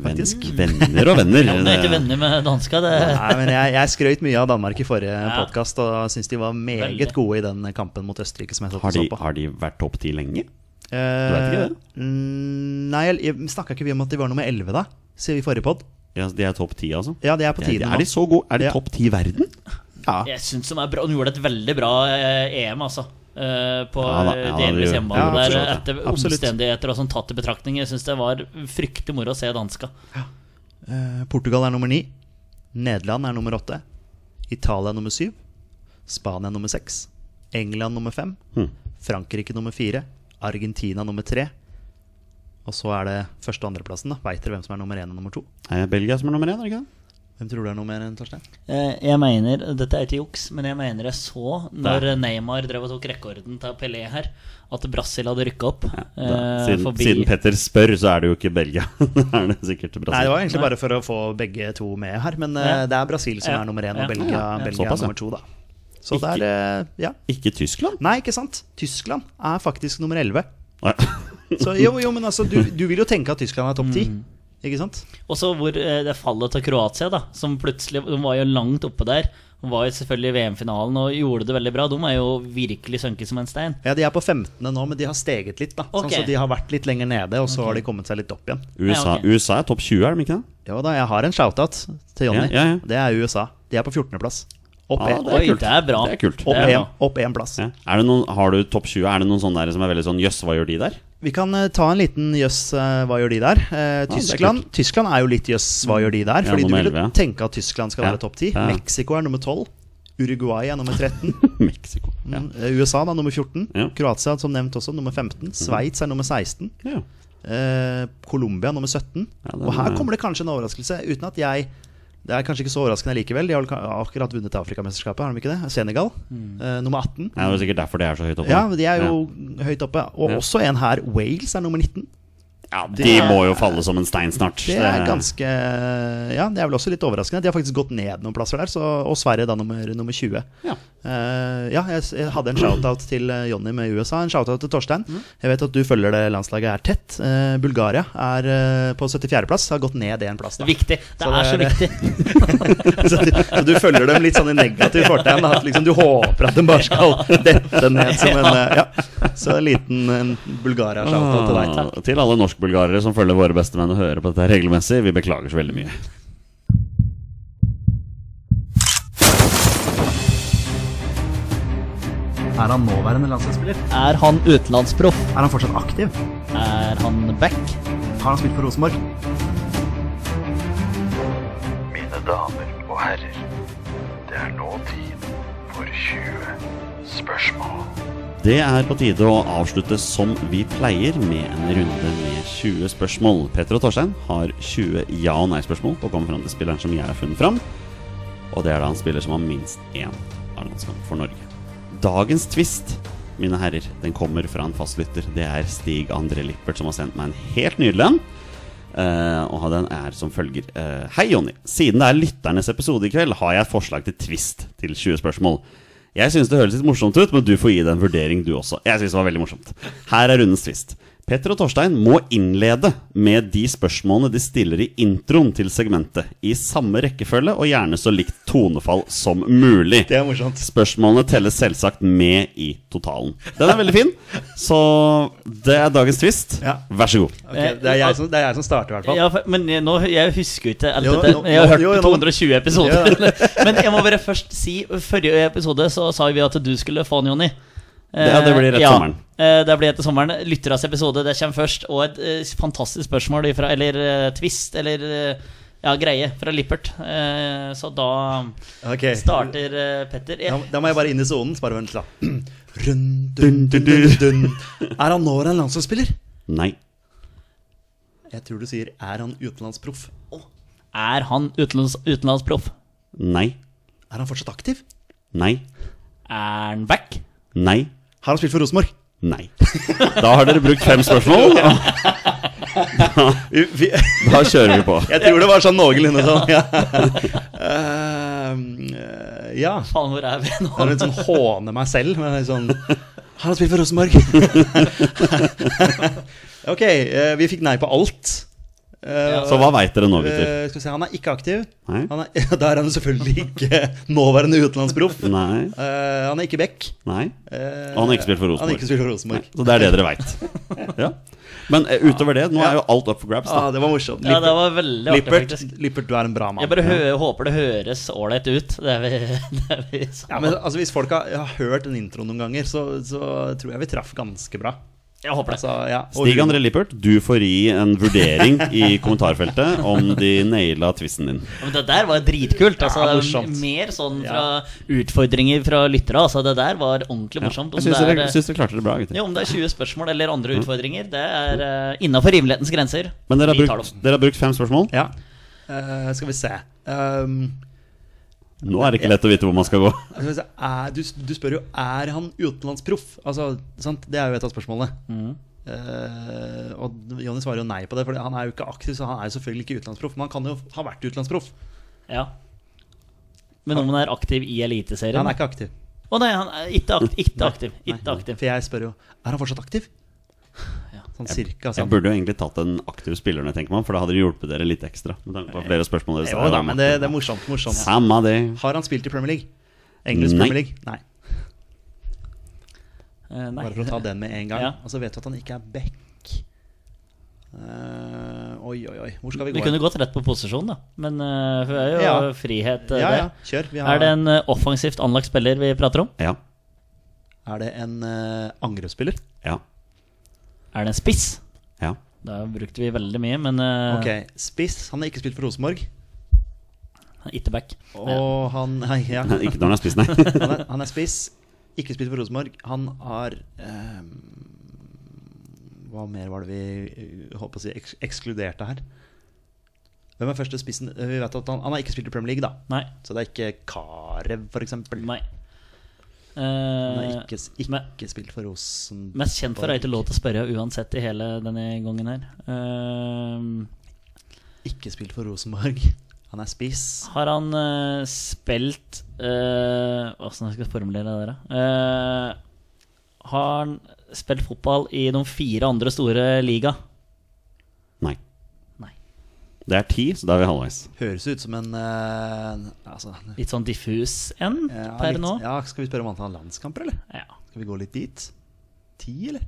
S1: faktisk.
S2: Venn, venner og venner.
S3: Du er ikke venner med danska. Det,
S1: Nei, men jeg, jeg skrøt mye av Danmark i forrige
S3: Ja.
S1: podkast og syns de var meget
S3: Veldig.
S1: gode i den kampen mot Østerrike. som jeg satt og
S2: har,
S1: så
S2: de,
S1: på.
S2: har de vært topp ti lenge?
S1: Eh,
S2: vet ikke det?
S1: mm, Nei, jeg, jeg snakka ikke vi om at de var nummer 11 da? Sier vi i forrige pod?
S2: Ja, de er topp ti, altså?
S1: Ja, de er på
S2: Er de-
S1: tiden
S2: er de så gode? Er de
S1: Ja.
S2: topp ti i verden?
S1: Ja.
S3: jeg syns de er bra. De gjorde et veldig bra eh, EM, altså. eh, på
S2: Ja da, ja
S3: eh,
S2: da,
S3: delvis
S2: de gjorde-
S3: hjemmebane.
S2: ja,
S3: der,
S2: absolutt,
S3: etter
S1: ja. Absolutt.
S3: omstendigheter og sånn tatt i betraktning. Jeg syns det var fryktelig moro å se danska.
S1: Eh, Portugal er nummer 9. Nederland er nummer 8. Italia er nummer 7. Spania er nummer 6. England nummer 5.
S2: Hm.
S1: Frankrike nummer 4. Argentina nummer 3. Og så er det første- og andreplassen. da. Veit dere hvem som er nummer 1 og nummer 2?
S2: Er det Belgia som er nummer én, er det ikke det?
S1: Hvem tror du er nummer 1, Torstein?
S3: Eh, Jeg mener, dette er ikke juks, men jeg mener jeg så når Neymar drev og tok rekorden til Pelé her, at Brasil hadde rykka opp.
S2: Da.
S3: eh,
S2: Siden,
S3: forbi-
S2: siden Petter spør, så er det jo ikke Belgia. Da er det sikkert
S1: Nei, det
S2: Brasil.
S1: var egentlig bare for å få begge to med her. Men eh,
S3: Ja.
S1: det er Brasil som
S3: Ja.
S1: er nummer én,
S3: Ja.
S1: og Belgia,
S2: Ja, ja.
S1: Belgia
S2: Såpass, ja.
S1: er nummer to, da. Så
S2: Ikke-
S1: det er eh, Ja.
S2: Ikke Tyskland?
S1: Nei, ikke sant? Tyskland er faktisk nummer elleve.
S2: Nei. Mm.
S1: Så jo, jo, men altså, du, du vil jo tenke at Tyskland er topp ti. Ikke sant?
S3: Også hvor eh, det fallet til Kroatia, da, som plutselig De var jo langt oppe der. De var jo selvfølgelig i VM-finalen og gjorde det veldig bra. De er jo virkelig sunket som en stein.
S1: Ja, De er på 15. nå, men de har steget litt. da
S3: Ok.
S1: Sånn, Så de har vært litt lenger nede, og så har de kommet seg litt opp igjen.
S2: USA,
S3: ok.
S2: USA er topp 20, er de ikke det?
S1: Jo da, jeg har en shout-out til
S2: Ja,
S1: Jonny.
S2: ja, ja.
S1: Det er USA. De er på 14.-plass. Opp
S2: Ja,
S1: en-
S2: det er
S3: Oi,
S2: kult.
S3: det er bra.
S2: Det er kult.
S3: Det
S1: opp
S3: er
S1: en-
S3: bra.
S1: opp én plass.
S2: Ja. Er det noen, har du topp 20? Er det noen sånne der som er veldig sånn Jøss, hva gjør de der?
S1: Vi kan eh, ta en liten jøss, eh, hva gjør de der?
S2: er
S1: Eh, Tyskland, Tyskland er jo litt jøss, hva gjør de der?
S2: Ja,
S1: Fordi du
S2: nummer
S1: vil
S2: 11, ja.
S1: jo tenke at Tyskland skal
S2: Ja,
S1: være topp 10.
S2: ja.
S1: Mexico er nummer 12. Uruguay er nummer 13.
S2: Mexico. Ja.
S1: Mm, eh, USA da, nummer 14.
S2: Ja. Mhm.
S1: Kroatia som nevnt også, nummer 15. Sveits er nummer 16.
S2: Ja.
S1: Eh, Colombia nummer 17.
S2: Ja, den
S1: og
S2: er-
S1: her kommer det kanskje en overraskelse, uten at jeg Det er kanskje ikke så overraskende likevel. De har vel ka- akkurat vunnet Afrikamesterskapet, har de ikke det? Senegal, eh, nummer 18.
S2: Ja, det er sikkert derfor de er så høyt oppe.
S1: Ja, men de er jo høyt oppe. Og
S2: Ja.
S1: også en her, Wales er nummer 19.
S2: ja, De må jo falle som en stein snart.
S1: Det er ganske Ja, det er vel også litt overraskende. De har faktisk gått ned noen plasser der. Så, og Sverige da nummer, nummer 20.
S2: Ja.
S1: Eh, ja, jeg, s- jeg hadde en shout-out til eh, Jonny med USA. En shout-out til Torstein. Jeg vet at du følger det landslaget her tett. Eh, Bulgaria er eh, på 74.-plass. Har gått ned én plass. Da.
S3: Viktig. Det
S1: Så
S3: er så
S1: det er-
S3: viktig.
S1: så, du, så du følger dem litt sånn i negativ fortegn. da, At liksom du håper at de bare skal dette ned som en eh, Ja. Så en liten en Bulgaria-shout-out til deg.
S2: Ah, til alle norskbulgarere som følger våre bestemenn og hører på dette her regelmessig, vi beklager så veldig mye.
S1: Er han nåværende landslagsspiller?
S3: Er han utenlandsproff?
S1: Er han fortsatt aktiv?
S3: Er han back?
S1: Har han spilt for Rosenborg?
S4: Mine damer og herrer, det er nå tid for 20 spørsmål.
S2: Det er på tide å avslutte som vi pleier, med en runde med 20 spørsmål. Petter og Torstein har 20 ja- og nei-spørsmål på å komme fram til spilleren som jeg har funnet fram. Og det er da en spiller som har minst én A-landskamp for Norge. Dagens twist, mine herrer, den kommer fra en fastlytter. Det er Stig André Lippert som har sendt meg en helt nydelig en. Eh, og den er som følger. Eh, Hei, Jonny. Siden det er lytternes episode i kveld, har jeg et forslag til twist til 20 spørsmål. Jeg syns det høres litt morsomt ut, men du får gi det en vurdering, du også. Jeg synes det var veldig morsomt. Her er rundens twist. Petter og Torstein må innlede med de spørsmålene de stiller i introen til segmentet, i samme rekkefølge og gjerne så likt tonefall som mulig.
S1: Det er morsomt.
S2: Spørsmålene telles selvsagt med i totalen. Den er veldig fin, så det er dagens twist.
S1: Ja.
S2: Vær så god.
S1: Ok, det, er jeg som, det er jeg som starter, i hvert fall.
S3: Ja, for- men jeg, nå, jeg husker jo ikke alt
S1: Jo,
S3: dette.
S1: nå-
S3: men Jeg har
S1: nå-
S3: hørt
S1: jo, jo, nå-
S3: 220 episoder. men jeg må bare først si Forrige episode så sa vi at du skulle få den, Jonny.
S2: Ja, det blir etter
S3: ja.
S2: sommeren.
S3: Eh, Det blir etter sommeren. Lytternes episode det kommer først. Og et eh, fantastisk spørsmål ifra, eller eh, twist, eller eh, ja, greie fra Lippert. Eh, Så da
S1: Ok.
S3: starter eh, Petter.
S1: Da,
S3: Jeg,
S1: da må jeg bare inn i sonen. så Bare vent litt, da. Run, dun, dun, dun, dun. Er han nå en landslagsspiller?
S2: Nei.
S1: Jeg tror du sier 'er han utenlandsproff'?
S3: er han utenlands, utenlandsproff?
S2: Nei.
S1: Er han fortsatt aktiv?
S2: Nei.
S3: Er han back?
S2: Nei.
S1: Har han spilt for Rosenborg?
S2: Nei. Da har dere brukt fem spørsmål. og
S1: Vi- vi-
S2: Da kjører vi på.
S1: Jeg tror det var sånn noenlunde sånn. Ja. Eh, ja.
S3: Faen, hvor er vi nå?
S1: Det er litt sånn håne meg selv. Men det er sånn Har han spilt for Rosenborg? ok, eh, vi fikk nei på alt. Eh,
S3: Ja.
S2: Så hva veit dere nå, gutter?
S1: Eh, skal vi se, Han er ikke aktiv.
S2: Nei.
S1: Han er, da er han jo selvfølgelig ikke nåværende utenlandsproff.
S2: Nei.
S1: Eh, han er ikke Beck.
S2: Nei.
S1: Eh,
S2: Og han har ikke spilt for
S1: han har
S2: Rosenborg.
S1: ikke spilt for
S2: Nei,
S1: Rosenborg.
S2: Så det er det dere veit. Ja. Men eh, utover det, nå er jo alt up for grabs.
S1: Ah,
S2: Da.
S1: det var morsomt.
S3: Ja, det var veldig artig,
S1: Lippert,
S3: faktisk.
S1: Lippert, du er en bra mann.
S3: Jeg bare hø håper det høres ålreit ut. Det er vi, det er vi sa.
S1: Ja, men altså, Hvis folk har, har hørt den introen noen ganger, så, så tror jeg vi traff ganske bra.
S3: Jeg håper det.
S1: Altså, ja. og
S2: Stig
S1: hun-
S2: André Lippert, du får gi en vurdering i kommentarfeltet om de naila twisten din.
S3: Men det der var dritkult. Altså,
S1: Ja,
S3: det er
S1: morsomt.
S3: mer sånn fra
S1: Ja.
S3: utfordringer fra lyttere. Altså, det der var ordentlig
S2: Ja.
S3: morsomt.
S2: Jeg
S3: Om
S2: syns
S3: det
S2: dere,
S3: er, eh,
S2: syns dere klarte det bra, gutter.
S3: jo, om det er 20 spørsmål eller
S1: Mm.
S3: andre utfordringer, det er uh, innafor rimelighetens grenser.
S2: Men dere har,
S3: Vi tar
S2: brukt, dere har brukt fem spørsmål.
S1: Ja. Eh, skal vi se Ehm,
S2: Nå er det ikke lett å vite hvor man skal gå.
S1: skal vi se. Altså, Er, du, du spør jo er han utenlandsproff. Altså, sant? Det er jo et av spørsmålene.
S3: Mm.
S1: Eh, og Jonny svarer jo nei på det, for han er jo ikke aktiv. Så han er jo selvfølgelig ikke utenlandsproff Men han kan jo ha vært utenlandsproff.
S3: dem. Ja. Men om han er aktiv i Eliteserien
S1: Han er ikke aktiv.
S3: Å nei, han er ikke aktiv. Ikke aktiv.
S1: Nei.
S3: Ikke aktiv.
S1: For jeg spør jo er han fortsatt aktiv.
S3: Ja.
S1: Sånn cirka.
S2: Jeg
S1: Sånn.
S2: burde jo egentlig tatt en aktiv spiller, når jeg tenker meg om, for da hadde det hjulpet dere litt ekstra. Med tanke på flere spørsmål dere
S1: Jo da, men det, det er morsomt. morsomt.
S2: Samme det.
S1: Har han spilt i Premier League? Engelsk
S2: Nei.
S1: Premier League? Nei.
S3: Eh, nei.
S1: Bare for å ta den med en gang.
S3: Ja.
S1: Og så vet du at han ikke er back. Eh, oi, oi, oi. Hvor skal vi
S3: Vi
S1: gå?
S3: kunne
S1: hen?
S3: gått rett på posisjon, da. Men eh, for det er jo
S1: Ja.
S3: frihet, eh,
S1: ja, ja,
S3: det.
S1: kjør. Vi
S3: Er det en eh, offensivt anlagt spiller vi prater om?
S2: Ja.
S1: er det en eh, angrepsspiller?
S2: Ja.
S3: Er det en spiss?
S2: Ja.
S3: Da brukte vi veldig mye, men uh,
S1: Ok, Spiss. Han har ikke spilt for Rosenborg.
S3: Itterback.
S1: Og han Nei, ja.
S2: Ikke når den er spiss, nei.
S1: Han er, han er spiss. Ikke spilt for Rosenborg. Han har eh, Hva mer var det vi eh, holdt på å si eks ekskluderte her? Hvem er første spissen? Eh, Vi vet at han, han har ikke spilt i Premier League, da.
S3: Nei.
S1: Så det er ikke Karev, f.eks. Han
S3: Nei. Eh,
S1: har ikke, s- ikke
S3: men-
S1: spilt for Rosenborg.
S3: mest kjent for er ikke lov til å spørre uansett i hele denne gangen her. Eh,
S1: Ikke spilt for Rosenborg. Han er spiss.
S3: har han eh, spilt eh, Åssen skal jeg formulere det der, da? Eh, har han spilt fotball i de fire andre store liga?
S2: nei.
S3: Nei.
S2: Det er ti, så da er vi halvveis.
S1: Høres ut som en eh, altså,
S3: Litt sånn diffus enn
S1: ja,
S3: per
S1: litt-
S3: nå?
S1: Eh, Ja, Skal vi spørre om antall landskamper, eller?
S3: Ja.
S1: Skal vi gå litt dit? Ti, eller?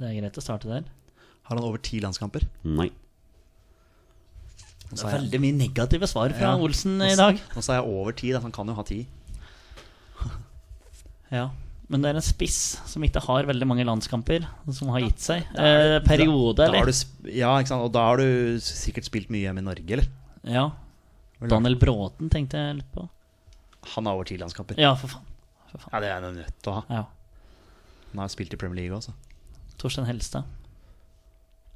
S3: Det er greit å starte der.
S1: Har han over ti landskamper?
S2: Nei.
S1: Nå
S3: Det
S1: sa
S3: er
S1: jeg-
S3: veldig mye negative svar fra
S1: Ja.
S3: Olsen
S1: Nå
S3: i
S1: s-
S3: dag.
S1: Nå sa jeg over ti, da, så han kan jo ha ti.
S3: Ja, men det er en spiss som ikke har veldig mange landskamper, som har gitt seg. Eh, periode,
S1: Da har du
S3: eller?
S1: sp- ja, ikke sant? Og da har du s- sikkert spilt mye hjemme i Norge, eller?
S3: Ja. Daniel Bråten tenkte jeg litt på.
S1: Han har over ti landskamper. Ja,
S3: Ja, for faen.
S1: det er han nødt til å ha.
S3: Ja.
S1: Han har spilt i Premier League også.
S3: Torstein Helstad.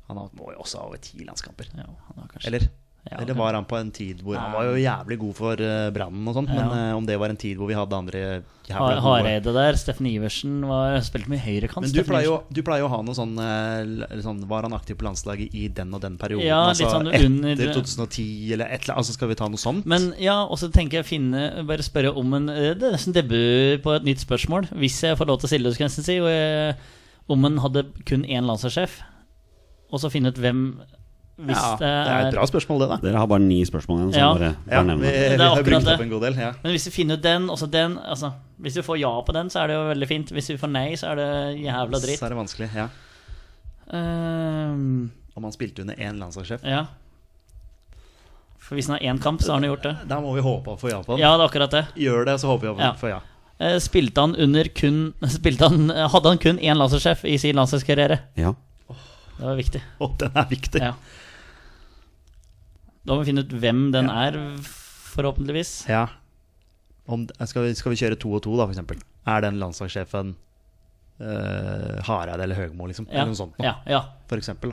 S1: Han har- må jo også ha over ti landskamper.
S3: Ja, han har kanskje
S1: Eller?
S3: Ja,
S1: Eller var han på en tid hvor Han
S3: Nei.
S1: var jo jævlig god for eh, Brannen og sånn, men
S3: Ja.
S1: eh, om det var en tid hvor vi hadde andre
S3: Ha-
S1: jævla gode
S3: Hareide der. Steffen Iversen var, spilte mye høyrekant.
S1: men du
S3: Steffen
S1: pleier,
S3: Iversen.
S1: jo, du pleier jo å ha noe sånn, eh, l- eller sånn Var han aktiv på landslaget i den og den perioden?
S3: Ja, litt
S1: altså
S3: sånn
S1: Etter
S3: under-
S1: 2010 eller et eller annet? Altså, skal vi ta noe sånt?
S3: Men ja, og så tenker jeg finne Bare spørre om en eh, Det er nesten debut på et nytt spørsmål, hvis jeg får lov til å stille det, skulle jeg nesten si. Og, eh, om en hadde kun én landslagssjef, og så finne ut hvem Hvis
S1: ja,
S3: det er,
S1: et bra spørsmål, det, da.
S2: Dere har bare ni spørsmål igjen. Så
S3: Ja.
S2: bare,
S1: Ja,
S2: bare
S1: vi,
S2: nevn
S1: vi
S2: det.
S3: er
S1: har
S3: akkurat
S1: brukt
S3: det.
S1: opp en god del. Ja.
S3: Men hvis vi finner ut den, og så den altså, Hvis vi får ja på den, så er det jo veldig fint. Hvis vi får nei, så er det jævla dritt.
S1: Så er det vanskelig. Ja.
S3: Ehm,
S1: Om han spilte under én landslagssjef.
S3: ja. For hvis han har én kamp, så har han gjort det.
S1: Da må vi håpe han får ja på den.
S3: Ja, det er akkurat det.
S1: Gjør det, så håper vi
S3: Ja.
S1: han får ja.
S3: Eh, Spilte han under kun spilte han, Hadde han kun én landslagssjef i sin landslagskarriere?
S2: Ja.
S3: Det var viktig.
S1: Og den er viktig.
S3: Ja. Da må vi finne ut hvem den er, forhåpentligvis.
S1: Ja. Om, skal, vi, skal vi kjøre to og to, da, for eksempel? Er den landslagssjefen eh, Hareide eller Høgmo, liksom?
S3: Ja.
S1: Eller noe sånt noe,
S3: Ja, ja.
S1: for eksempel.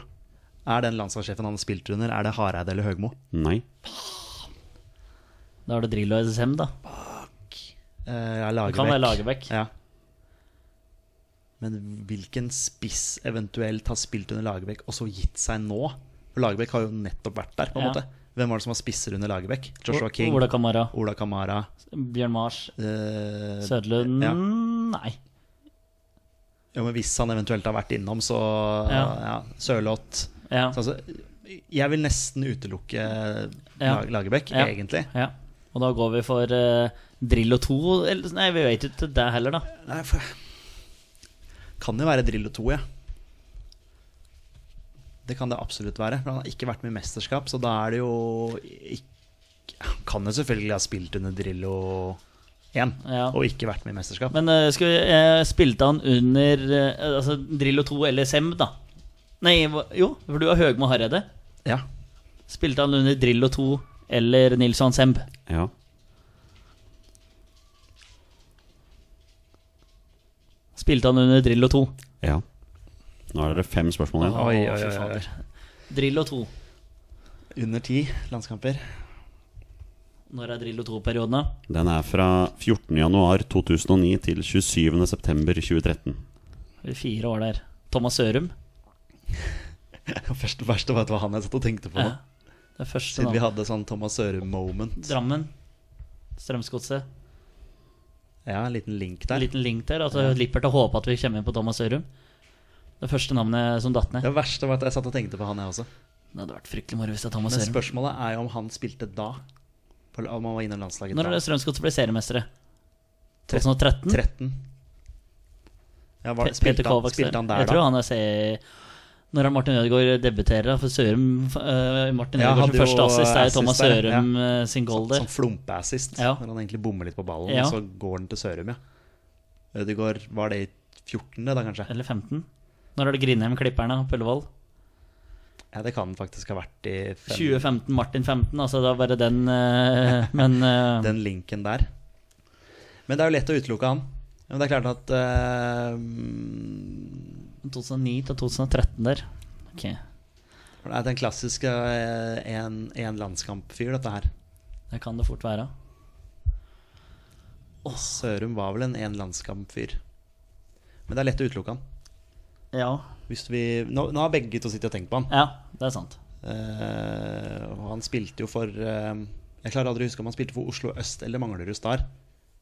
S1: Da. Er den landslagssjefen han spilte under, er det Hareide eller Høgmo?
S2: Nei.
S3: Da er det Drillo og SSM, da.
S1: Eh, ja,
S3: Det kan være
S1: Lagerbäck.
S3: Lagerbäck.
S1: Ja. Men hvilken spiss eventuelt har spilt under Lagerbäck og så gitt seg nå? For Lagerbäck har jo nettopp vært der. på en
S3: Ja.
S1: måte Hvem var det som var spisser under Lagerbäck? Joshua
S3: O-
S1: King,
S3: Ola
S1: Ola,
S3: Kamara.
S1: Kamara
S3: Bjørn Mars.
S1: eh,
S3: Sødlund
S1: Ja.
S3: Nei.
S1: Jo, men Hvis han eventuelt har vært innom, så ja.
S3: Ja.
S1: Sørloth
S3: Ja.
S1: så, altså, Jeg vil nesten utelukke
S3: Ja.
S1: Lag- Lagerbäck,
S3: Ja.
S1: egentlig.
S3: ja. Og da går vi for eh, Drillo 2. Eller, nei, vi vet jo ikke det heller, da.
S1: Nei, for... Kan jo være Drillo 2, ja. Det kan det absolutt være. For han har ikke vært med i mesterskap, så da er det jo ikke... Han kan jo selvfølgelig ha spilt under Drillo 1
S3: Ja.
S1: og ikke vært med i mesterskap.
S3: Men eh, skal vi, eh, spilte han under eh, altså Drillo 2 eller Sem, da? Nei, hva- jo, for du har Høgmo Hareide.
S1: Ja.
S3: Spilte han under Drillo 2 eller Nils Johan Semb?
S2: Ja.
S3: Spilte han under Drillo 2?
S2: Ja. Nå er dere fem spørsmål igjen.
S1: Oi, oi,
S3: Å, fy
S1: oi, oi.
S3: fader. Drillo 2.
S1: Under ti landskamper.
S3: Når er Drillo 2-perioden, da?
S2: Den er fra 14.1.2009 til 27.9.2013.
S3: Fire år der. Thomas Sørum.
S1: Først, verste var at det var han jeg satt og tenkte på nå.
S3: Ja. Det er første
S1: Siden vi
S3: navn.
S1: hadde sånn Thomas Sørum-moment.
S3: Drammen. Strømsgodset.
S1: Ja, en liten link
S3: En
S1: der.
S3: Altså, liten link der. At Lippert har håpet at vi kommer inn på Thomas Sørum. Det første navnet som datt ned.
S1: Det verste var at jeg satt og tenkte på han, jeg også.
S3: Det hadde vært fryktelig moro hvis det er Thomas
S1: Men
S3: Hørum.
S1: spørsmålet er jo om han spilte da. På- Om han var innom landslaget
S3: Når er
S1: da.
S3: det Strømsgodt som ble seriemestere? 2013?
S1: 13. Ja, var,
S3: Pe-
S1: spilte,
S3: Peter
S1: han,
S3: Kovacs der.
S1: spilte han der,
S3: Jeg tror
S1: da?
S3: han er se... Når er Martin Ødegaard debuterer, da? For Sørum eh, Martin
S1: Ja,
S3: Ødegaard
S1: hadde
S3: som første
S1: jo
S3: assist er jo
S1: assist
S3: Thomas
S1: der, ja.
S3: Sørum eh, sin goal der.
S1: Sånn flumpeassist,
S3: Ja.
S1: når han egentlig bommer litt på ballen,
S3: Ja.
S1: og så går han til Sørum, ja. Ødegaard var det i 14., da, kanskje?
S3: Eller 15? Når er det Grindheim-klipperne på Ullevål?
S1: Ja, det kan faktisk ha vært i fem-
S3: 2015, Martin 15, altså det var bare den eh, Men eh,
S1: den linken der. Men det er jo lett å utelukke han. Men det er klart at eh,
S3: 2009 til 2013 der. Ok.
S1: For Det er den klassiske eh, en, en landskamp-fyr, dette her.
S3: Det kan det fort være.
S1: Sørum var vel en en landskamp-fyr. Men det er lett å utelukke han.
S3: Ja.
S1: Hvis vi, nå, nå har begge to sittet og tenkt på han.
S3: ja, det er sant.
S1: Eh, og han spilte jo for eh, Jeg klarer aldri å huske om han spilte for Oslo Øst eller Manglerud Star.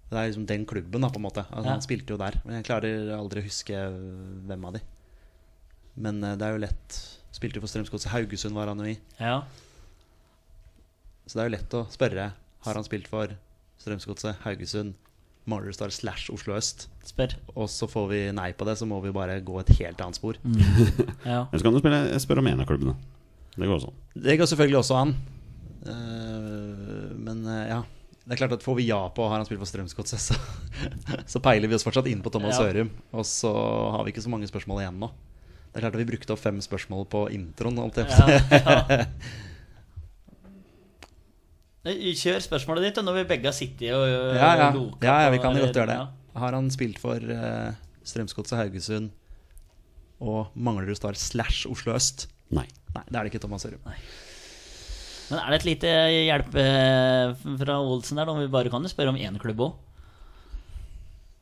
S1: Det er liksom den klubben, da, på en måte. Altså,
S3: Ja.
S1: Han spilte jo der. Men jeg klarer aldri å huske hvem av de. Men eh, det er jo lett. Spilte jo for Strømsgodset Haugesund, var han jo i.
S3: Ja.
S1: Så det er jo lett å spørre Har han spilt for Strømsgodset, Haugesund, Manglerud Star slash Oslo Øst?
S3: Spør.
S1: Og så får vi nei på det, så må vi bare gå et helt annet spor.
S3: Ja.
S2: Eller så kan du spille, spørre om en av klubbene. Det går sånn. også an.
S1: Det går selvfølgelig også an. Eh, Men eh, ja. Det er klart at Får vi ja på har han spilt for Strømsgodset, så, så peiler vi oss fortsatt inn på Thomas
S3: Ja.
S1: Sørum. Og så har vi ikke så mange spørsmål igjen nå. Det er klart at Vi brukte opp fem spørsmål på introen. Holdt jeg på å si.
S3: Ja, ja. Nei, Kjør spørsmålet ditt, og når vi begge har sittet og ø,
S1: Ja, ja.
S3: loka
S1: ja, ja,
S3: på-
S1: vi kan jo godt gjøre det.
S3: Ja.
S1: Har han spilt for eh, Strømsgodset Haugesund og Manglerud Star slash Oslo Øst?
S2: Nei.
S1: Nei, det er det ikke Thomas Sørum.
S3: Men er det et lite hjelp ø, fra Olsen der, da? om Vi bare kan jo spørre om én klubb òg.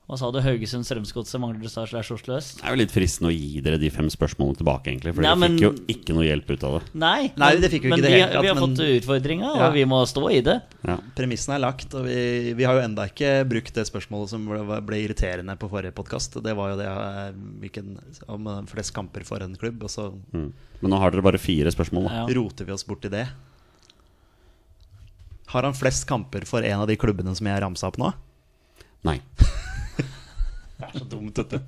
S3: Hva sa du? Haugesund, Strømsgodset, Manglerud Stars slash Oslo Øst?
S2: Det er jo litt fristende å gi dere de fem spørsmålene tilbake, egentlig. For
S3: Nei,
S2: dere
S3: men-
S2: fikk jo ikke noe hjelp ut av det.
S3: Nei,
S1: Nei,
S3: men-
S1: det fikk vi ikke
S3: men
S1: i det
S3: vi,
S1: hele tatt,
S3: vi har
S1: men-
S3: fått utfordringa, og
S1: Ja.
S3: vi må stå i det.
S2: Ja.
S1: Premissen er lagt, og vi, vi har jo enda ikke brukt det spørsmålet som ble, ble irriterende på forrige podkast. Det var jo det eh, hvilken, om eh, flest kamper for en klubb, og så
S2: Mm. Men nå har dere bare fire spørsmål, da.
S3: Ja.
S1: roter vi oss bort i det. Har han flest kamper for en av de klubbene som jeg ramsa opp nå?
S2: Nei.
S1: Det er så dumt, dette.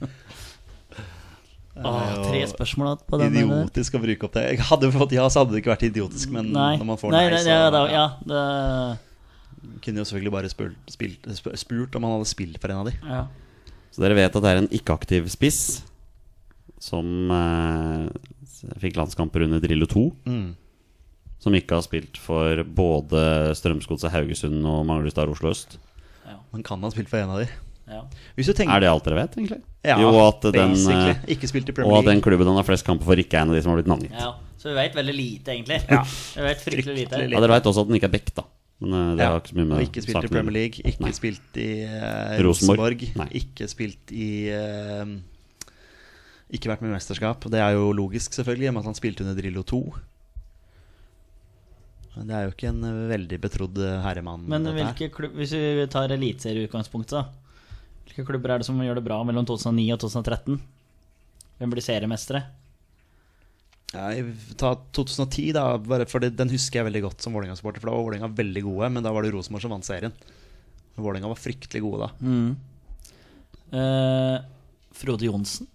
S3: Åh, tre spørsmål igjen på den. der.
S1: Idiotisk å bruke opp det. Jeg hadde vi fått ja, så hadde det ikke vært idiotisk, men
S3: Nei.
S1: når man får nei,
S3: nei, nei,
S1: så
S3: ja, da,
S1: ja,
S3: ja, det,
S1: kunne jo selvfølgelig bare spurt, spilt, sp- spurt om han hadde spilt for en av de.
S3: ja.
S2: Så dere vet at det er en ikke-aktiv spiss som eh, fikk landskamper under Drillo 2.
S1: Mm.
S2: Som ikke har spilt for både Strømsgodset Haugesund og Manglerud Star Oslo øst.
S1: Men kan han ha spilt for en av de?
S3: Ja.
S1: Hvis du tenker
S2: Er det alt dere vet, egentlig?
S1: Ja,
S2: jo, at den,
S1: basically.
S2: eh,
S1: Ikke spilt
S2: og
S1: i Premier
S2: at den
S1: League.
S2: klubben han har flest kamper for, ikke er en av de som har blitt navngitt. Ja,
S3: Ja, så vi veit veldig lite, egentlig. Vi vet fryktelig lite.
S1: Fryktelig lite.
S2: Dere vet også at den ikke er back, da. Men eh, det
S1: Ja,
S2: har ikke så mye med
S1: og ikke spilt i
S2: saken å
S1: Premier
S2: gjøre.
S1: League, ikke
S2: Nei.
S1: spilt i eh,
S2: Rosenborg.
S1: Rosenborg,
S2: Nei.
S1: ikke spilt i eh, Ikke vært med i mesterskap. Det er jo logisk, selvfølgelig, i og med at han spilte under Drillo 2. Men det er jo ikke en eh, veldig betrodd eh, herremann.
S3: Men
S1: dette her.
S3: hvilke klubb, hvis vi tar eliteserieutgangspunktet, da. Hvilke klubber er det som gjør det bra mellom 2009 og 2013? Hvem blir seriemestere?
S1: Nei, ta 2010, da. bare Fordi den husker jeg veldig godt som Vålerenga-supporter. For da var Vålerenga veldig gode, men da var det Rosenborg som vant serien. Vålerenga var fryktelig gode da.
S3: Eh, Frode Johnsen?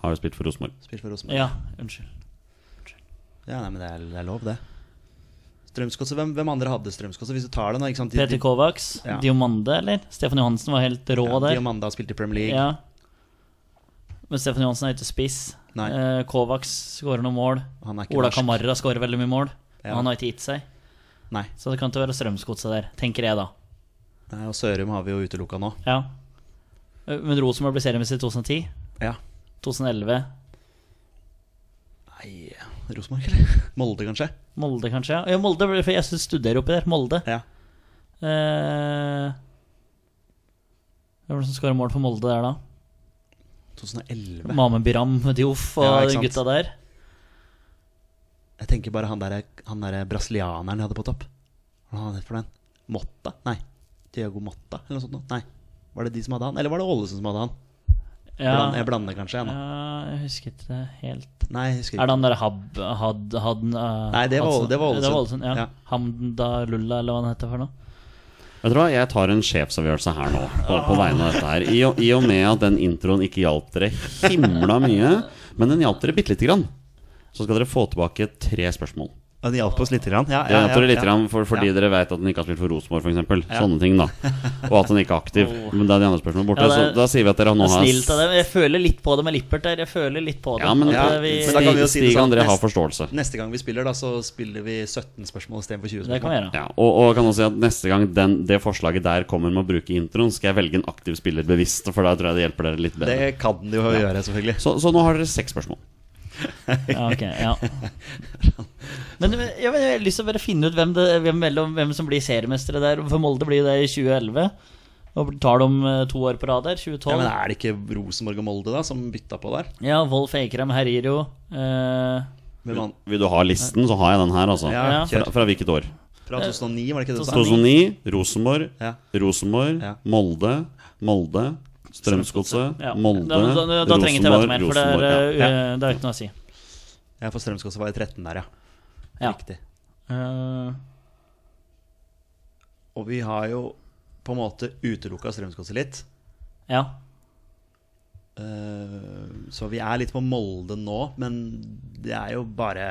S2: Har jo spilt for Rosenborg.
S1: Spilt for Rosenborg.
S3: Ja, unnskyld.
S1: Ja, nei, men det er, det er lov, det. Strømsgodset, hvem, hvem andre hadde Strømsgodset? Hvis du tar det nå, ikke sant?
S3: Peter Kovacs?
S1: Ja.
S3: Diomande, eller? Stefan Johansen var helt rå
S1: ja,
S3: der.
S1: Diamanda har spilt i Premier League.
S3: Ja. Men Stefan Johansen er ikke spiss.
S1: Nei.
S3: Eh, Kovacs skårer noen mål.
S1: Han er ikke
S3: eh, Ola
S1: norsk.
S3: Kamara skårer veldig mye mål.
S1: Ja.
S3: Men han har ikke gitt seg.
S1: Nei.
S3: Så det kan ikke være Strømsgodset der, tenker jeg da.
S1: nei, og Sørum har vi jo utelukka nå.
S3: Ja. Eh, Men Rosenborg ble seriemester i 2010.
S1: Ja.
S3: 2011.
S1: Nei, Rosenborg, eller? Molde, kanskje?
S3: Molde, kanskje? Ja, Ja, Molde, ble- for jeg synes studerer oppi der. Molde.
S1: Ja.
S3: Eh, hvem var det som skåra mål for Molde der, da?
S1: 2011.
S3: Mame Biram, Dioff og
S1: Ja, ikke
S3: de
S1: sant.
S3: gutta der.
S1: Jeg tenker bare han der, han der brasilianeren de hadde på topp. Hva var han het for den? Motta? Nei. Diago Motta, eller noe sånt noe? Nei. Var det de som hadde han? Eller var det Ålesund som hadde han?
S3: Ja.
S1: Bland- Jeg blander kanskje, jeg nå.
S3: Ja, jeg husker ikke det helt.
S1: Nei, jeg husker
S3: Er det
S1: ikke.
S3: han der Hab... Had, hadden, eh,
S1: Nei, det var-
S3: Hadsen-
S1: det var Ålesund.
S3: ja.
S1: Ja.
S3: Hamdalulla, eller hva han heter for noe.
S2: Vet du hva, Jeg tar en sjefsavgjørelse her nå, på, på vegne av dette her. I, og- I og med at den introen ikke hjalp dere himla mye, men den hjalp dere bitte lite grann, så skal dere få tilbake tre spørsmål.
S1: Ja, Det hjalp oss lite grann. Ja,
S2: Det
S1: ja,
S2: hjalp
S1: ja,
S2: dere litt
S1: ja.
S2: grann for, fordi
S1: Ja.
S2: dere vet at den ikke har spilt for Rosenborg, f.eks. Sånne ting, da. Og at den ikke er aktiv.
S1: Oh.
S2: Men da er de andre spørsmålene borte.
S3: Ja, det er-
S2: så da sier vi at dere nå
S3: Det er
S2: har
S3: Snilt av dem. Jeg føler litt på det med Lippert der. Jeg føler litt på det.
S2: Ja, men
S3: At,
S2: ja,
S3: eh, vi,
S1: men da kan vi jo
S2: Stig,
S1: si det
S2: Stig
S1: sånn.
S2: André har
S1: Neste-
S2: forståelse.
S1: Neste gang vi spiller, da, så spiller vi 17 spørsmål istedenfor 20
S3: det kan vi
S1: spørsmål.
S3: gjøre.
S2: Ja, og, og jeg kan også si at Neste gang den, det forslaget der kommer med å bruke introen, skal jeg velge en aktiv spiller bevisst. For da tror jeg det hjelper dere litt bedre.
S1: Det kan du jo gjøre, selvfølgelig.
S2: Så, så nå har dere seks spørsmål.
S3: Ja, ok, ja. Men eh, jeg, jeg har lyst til å bare finne ut hvem, det, hvem, mellom, hvem som blir seriemestere der. For Molde blir jo det i 2011. Og tar dem eh, to år på rad der. 2012.
S1: Ja,
S3: Ja,
S1: men Er det ikke Rosenborg og Molde da som bytta på der?
S3: Wolf Eikrem Heriro. eh,
S1: Med mann
S2: Vil du ha listen, så har jeg den her, altså.
S1: Ja,
S3: Ja.
S2: Fra,
S1: kjør.
S2: fra hvilket år?
S3: Eh,
S1: Fra 2009, var det ikke det du sa?
S2: 2009, Rosenborg,
S1: Ja.
S2: Rosenborg,
S1: Ja.
S2: Molde, Molde, Strømsgodset,
S3: ja.
S2: Molde,
S3: da, da, da, da trenger jeg ikke
S2: Rosenborg,
S3: vite mer, for det er,
S2: Rosenborg. ja.
S3: eh, eh, det er ikke noe å si.
S1: Ja, for Strømsgodset var i 13 der, ja.
S3: Ja.
S1: Riktig.
S3: Eh,
S1: Og vi har jo på en måte utelukka Strømsgodset litt.
S3: ja.
S1: Eh, Så vi er litt på Molde nå, men det er jo bare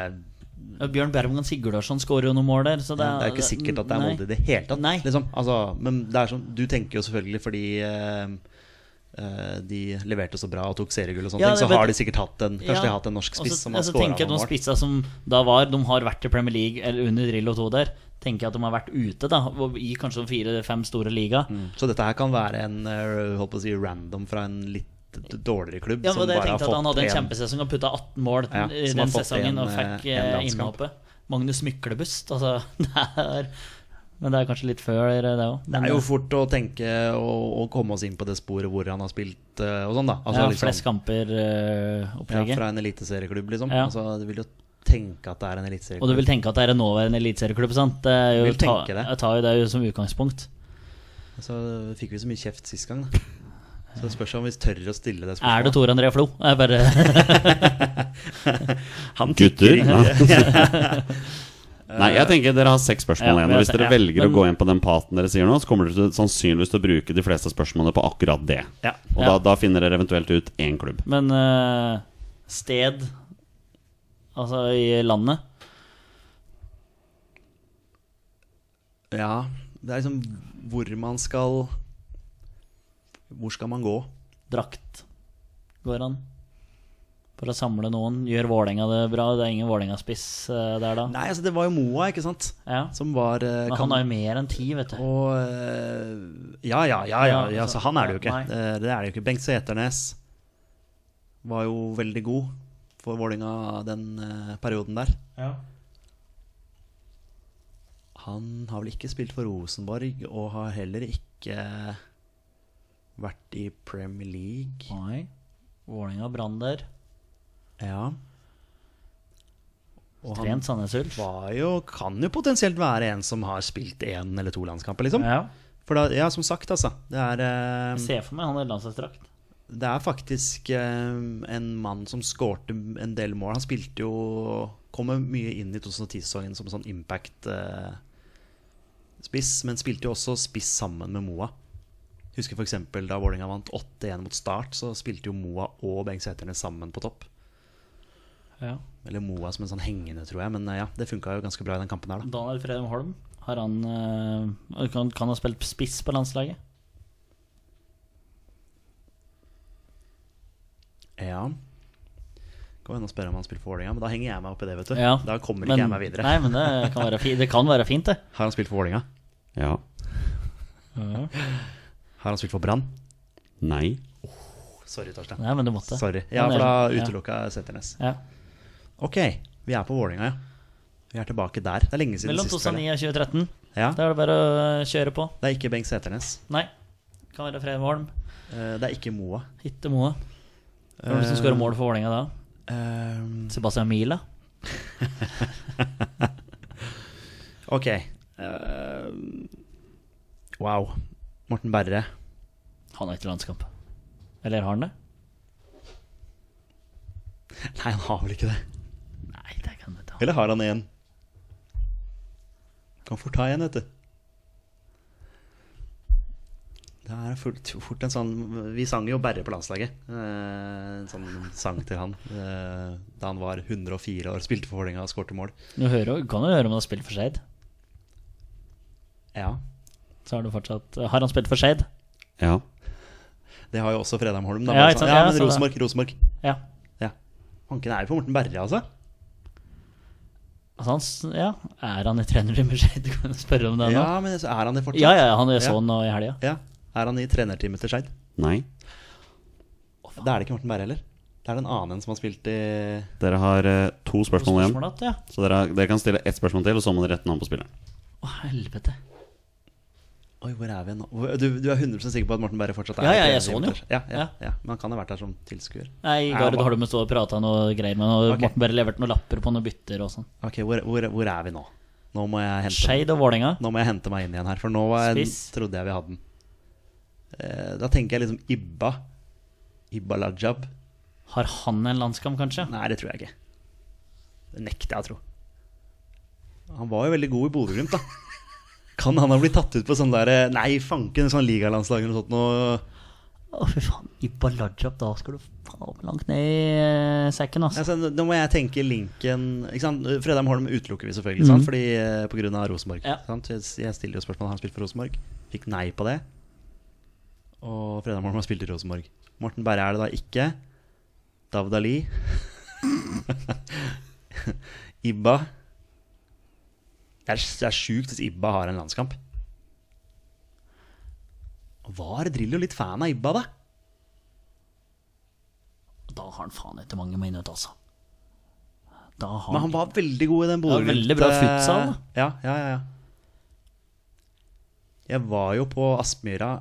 S3: Og Bjørn Bermgan Sigurdarsson skårer jo noen mål der. Så det,
S1: Det er jo ikke sikkert at det er
S3: nei.
S1: Molde i det hele tatt.
S3: Nei.
S1: Liksom. Altså, men det er sånn, du tenker jo selvfølgelig fordi eh, eh, de leverte så bra og tok seriegull og sånne
S3: Ja,
S1: ting, så
S3: det-
S1: har de sikkert hatt en Kanskje
S3: Ja.
S1: de har hatt en norsk spiss
S3: Og så-
S1: som har
S3: altså,
S1: skåra
S3: tenker jeg
S1: noen
S3: de
S1: mål.
S3: spissa som da var, de har vært i Premier League eller under Drillo 2 der. Tenker jeg at de har vært ute, da, og i kanskje de fire-fem store liga.
S1: Mm. Så dette her kan være en eh, holdt på å si random fra en litt d- dårligere klubb.
S3: Ja, men det jeg tenkte at Han hadde en
S1: en-
S3: kjempesesong og putta 18 mål
S1: Ja,
S3: i
S1: som
S3: den
S1: har fått
S3: sesongen
S1: en,
S3: og
S1: eh,
S3: fikk
S1: en
S3: eh,
S1: landskamp.
S3: innhoppet. Magnus Myklebust, altså. Det er, men det er kanskje litt før det òg.
S1: Det er jo fort å tenke og, og komme oss inn på det sporet hvor han har spilt eh, og sånn, da. Altså,
S3: ja,
S1: liksom-
S3: flest eh, kamper-opplegget.
S1: ja, fra en eliteserieklubb, liksom.
S3: Ja.
S1: Altså, du vil jo tenke at det er en
S3: Og du
S1: eliteserieklubb.
S3: vil tenke at det er en nåværende eliteserieklubb, sant? Det er jo,
S1: Vil
S3: ta,
S1: tenke det.
S3: Jeg tar jo det jo som utgangspunkt.
S1: Så fikk vi så mye kjeft sist gang, da. Så det spørs om vi tør å stille det
S3: Er det Tor André Flo? Jeg bare
S1: Han
S2: Gutter?
S1: tikker inn.
S2: Nei, jeg tenker dere har seks spørsmål
S3: Ja,
S2: igjen.
S3: men
S2: Og hvis
S3: jeg-
S2: dere
S3: ja,
S2: velger
S3: men-
S2: å gå inn på den paten dere sier nå, så kommer dere til, sannsynligvis til å bruke de fleste spørsmålene på akkurat det.
S1: Ja.
S2: Og
S3: Ja.
S2: da, da finner dere eventuelt ut én klubb.
S3: Men eh, sted Altså i landet.
S1: ja. Det er liksom hvor man skal Hvor skal man gå?
S3: Drakt går an. For å samle noen. Gjør Vålerenga det bra? Det er ingen Vålerenga-spiss eh, der, da.
S1: Nei, altså det var jo Moa, ikke sant?
S3: Ja.
S1: Som var eh,
S3: Men han har jo mer enn ti, vet du.
S1: Og eh, Ja, ja, ja, ja.
S3: Ja,
S1: ja
S3: altså,
S1: så han er det jo ikke.
S3: nei.
S1: Eh, Det er det jo ikke. Bengt Seternes var jo veldig god for Vålinga den eh, perioden der. Han har vel ikke spilt for Rosenborg, og har heller ikke vært i Premier League.
S3: Nei. Vålerenga Brann der.
S1: Ja. Og han
S3: Trent Sandnes Ulf.
S1: var jo, kan jo potensielt være en som har spilt én eller to landskamper, liksom.
S3: Ja.
S1: For da, ja, som sagt, altså. Det er, eh,
S3: Jeg ser for meg han har landslagsdrakt.
S1: det er faktisk eh, en mann som skårte en del mål. Han spilte jo Kommer mye inn i 2010-sesongen som sånn impact-spiss, men spilte jo også spiss sammen med Moa. Husker f.eks. da Vålerenga vant 8-1 mot Start, så spilte jo Moa og Bengt Sæterne sammen på topp.
S3: Ja.
S1: Eller Moa som en sånn hengende, tror jeg, men eh, ja, det funka jo ganske bra i den kampen her, da.
S3: Daniel Fredheim Holm, har han eh, kan, kan han ha spilt spiss på landslaget?
S1: Ja. Kan hende å spørre om han spilte for Vålerenga, men da henger jeg meg opp i det, vet du.
S3: Ja.
S1: Da kommer
S3: Men-
S1: ikke jeg meg videre.
S3: Nei, men det kan være, fi, det kan være fint, det.
S1: Har han spilt for Vålerenga?
S2: Ja.
S1: Har han spilt for Brann?
S2: Nei.
S1: Sorry, Torstein.
S3: Nei, men du måtte.
S1: Sorry. Ja, for
S3: Men det-
S1: da
S3: ja.
S1: utelukka jeg Seternes.
S3: Ja.
S1: Ok, vi er på Vålinga, ja. Vi er tilbake der. Det er lenge siden
S3: Mellom
S1: sist. føler
S3: 2009
S1: jeg.
S3: og 2013.
S1: Ja.
S3: Da er det bare å eh, kjøre på.
S1: Det er ikke Bengt Seternes.
S3: Nei. Kan være Fredheim Holm.
S1: Eh, Det er ikke Moa.
S3: Hitte Moe. Hvem er det som skårer mål for Vålerenga da?
S1: Eh,
S3: Sebastian Mila?
S1: Ok. Eh, Wow. Morten Berre.
S3: Han har ikke landskamp. Eller har han det?
S1: Nei, han har vel ikke det.
S3: Nei, det kan du ta.
S1: Eller har han én? Kan fort ha én, vet du. Det er fullt, fort en sånn Vi sang jo Berre på landslaget. Eh, En sånn sang til han eh, da han var 104 år, spilte for Vålerenga og skårte mål.
S3: Du hører, jo- kan jo høre om han har spilt for Skeid.
S1: Ja,
S3: Så har du fortsatt Har han spilt for Skeid?
S2: Ja.
S1: Det har jo også Fredheim Holm. Da,
S3: Ja,
S1: bare
S3: ikke
S1: sånn,
S3: sant?
S1: ja,
S3: Ja,
S1: men
S3: så det-
S1: Rosenborg, Rosenborg.
S3: Ja.
S1: Ja. Hanken er jo på Morten Berre, altså.
S3: Altså han, s- ja. Er han i trenerteam med Skeid? Du kan spørre om det nå.
S1: Ja, men så er han det fortsatt?
S3: Ja, ja, han jeg så
S1: Ja.
S3: han nå i helga.
S1: Ja. Er han i trenerteamet til Skeid?
S2: Nei.
S1: Da er det ikke Morten Berre heller. Da er det en annen en som har spilt i
S2: Dere har eh, to spørsmål igjen.
S3: Spørsmål igjen. Ja.
S2: Så dere, dere kan stille ett spørsmål til, og så må dere rette navn på spilleren.
S3: Å, helvete.
S1: Oi, hvor er vi nå? Hvor- Du, du er 100 sikker på at Morten Berre fortsatt er
S3: Ja,
S1: i
S3: ja, jeg
S1: trenerteamet
S3: så han jo.
S1: til Skeid? Ja, ja,
S3: Ja.
S1: ja. Men han kan ha vært der som tilskuer.
S3: Nei,
S1: Ja,
S3: Gard
S1: hva-
S3: Holmen stod og prata noe greier med han, og
S1: Ok.
S3: Morten bare leverte noen lapper på noen bytter og sånn.
S1: Ok, hvor, hvor, hvor er vi nå? Nå må jeg hente
S3: Skeid og Vålerenga.
S1: Nå må jeg hente meg inn igjen her, for nå var jeg,
S3: Spiss.
S1: trodde jeg vi hadde den. Eh, Da tenker jeg liksom Ibba. Ibba Lajab.
S3: Har han en landskamp, kanskje?
S1: Nei, det tror jeg ikke. Det nekter jeg å tro. Han var jo veldig god i Bodø-Glimt, da. Kan han ha blitt tatt ut på sånn derre Nei, fanken, sånn ligalandslag eller noe sånt noe.
S3: Å, fy faen. Ibba Lajab, da skal du faen meg langt ned i eh, sekken, altså.
S1: Altså, nå må jeg tenke linken ikke sant? Fredheim Holm utelukker vi selvfølgelig, sant? Fordi, eh, på grunn av Rosenborg.
S3: Ja.
S1: Sant? Jeg jeg stiller jo spørsmål har han spilt for Rosenborg. Fikk nei på det. Og Fredheim Holm har spilt i Rosenborg. Morten Berre er det da ikke. Davd Ali. Ibba. Det er, det er sjukt hvis Ibba har en landskamp. Var Drillo litt fan av Ibba, da?
S3: Da har han faen ikke mange minutter, altså. Da har
S1: Men han var veldig god i den
S3: Ja,
S1: Bodø-Glimt.
S3: veldig bra
S1: eh,
S3: futsal, da.
S1: Ja, ja, ja, ja. Jeg var jo på Aspmyra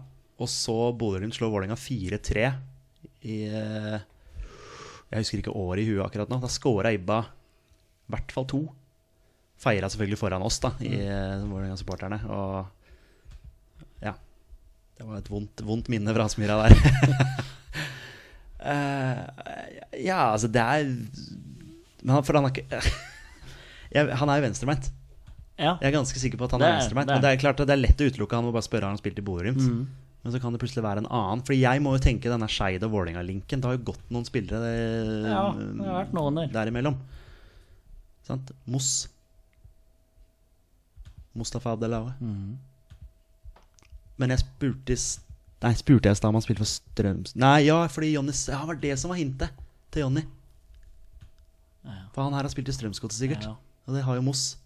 S1: og så Bodø-Glimt slå Vålerenga 4-3 i eh, Jeg husker ikke året i huet akkurat nå. Da scora Ibba i hvert fall to. Feira selvfølgelig foran oss, da,
S3: Mm.
S1: i eh, Vålerenga-supporterne. Og ja. Det var et vondt, vondt minne fra Aspmyra der. Eh, ja, altså, det er Men han, for han har ikke jeg, han er jo venstrebeint.
S3: Ja.
S1: Jeg er ganske sikker på at han
S3: Det
S1: er
S3: er-
S1: venstrebeint.
S3: det er.
S1: Men
S3: Mm.
S1: det er klart at det er lett å utelukke. Han må bare spørre har han spilt i Bodø-Glimt. Men så kan det plutselig være en annen. Fordi jeg må jo tenke denne Skeid og Vålerenga-linken. Det har jo gått noen spillere eh,
S3: ja, det har vært noen der.
S1: derimellom. Sant? Moss. Mustafa Abdelawe.
S3: Mm.
S1: Men jeg spurte i s- Nei, spurte jeg i stad om han spilte for Strøms... Nei, ja, fordi Jonny s- Ja, det var det som var hintet til Jonny. For han her har spilt i Strømsgodset, sikkert.
S3: Ja.
S1: Og det har jo Moss.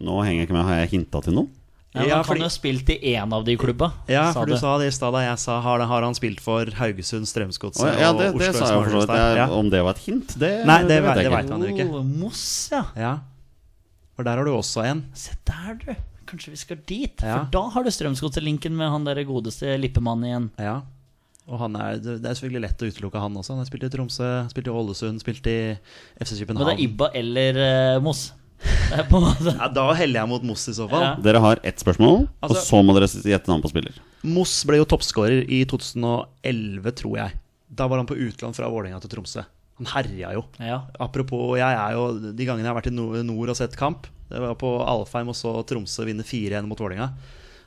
S2: Nå henger jeg ikke med. Har jeg hinta til noen?
S3: Ja, men
S1: Ja,
S3: han
S1: fordi-
S3: kan jo ha spilt i én av de klubba,
S1: Ja, for du sa det i stad da jeg sa har, har han spilt for Haugesund, Strømsgodset
S2: Å, ja, det,
S1: og
S2: det sa
S1: Oslo
S2: jeg jo for så vidt.
S1: Smartestad?
S2: Jeg- Om det var et hint, det,
S1: Nei, det
S2: vet jeg
S1: vet- det
S2: ikke.
S1: vet han jo ikke.
S3: Oh, Moss, ja.
S1: Ja. ja. For der har du også en.
S3: Se der, du. Kanskje vi skal dit?
S1: Ja.
S3: For da har du Strømsgodset-linken med han der godeste Lippemannen igjen.
S1: Ja. Og han er, det det er selvfølgelig lett å utelukke han også. Han har spilt i Tromsø, spilt i Ålesund, spilt i FC
S3: Men det er
S1: København.
S3: Ibba eller eh, Moss. Det er på en måte
S1: Ja, da heller jeg mot Moss i så fall.
S3: Ja.
S2: Dere har ett spørsmål, og
S1: Altså-
S2: så må dere gjette navn på spiller.
S1: Moss ble jo toppskårer i 2011, tror jeg. Da var han på utland fra Vålerenga til Tromsø. Han herja jo.
S3: Ja.
S1: Apropos, jeg er jo De gangene jeg har vært i nord, nord og sett kamp Det var på Alfheim og så Tromsø vinne 4-1 mot Vålinga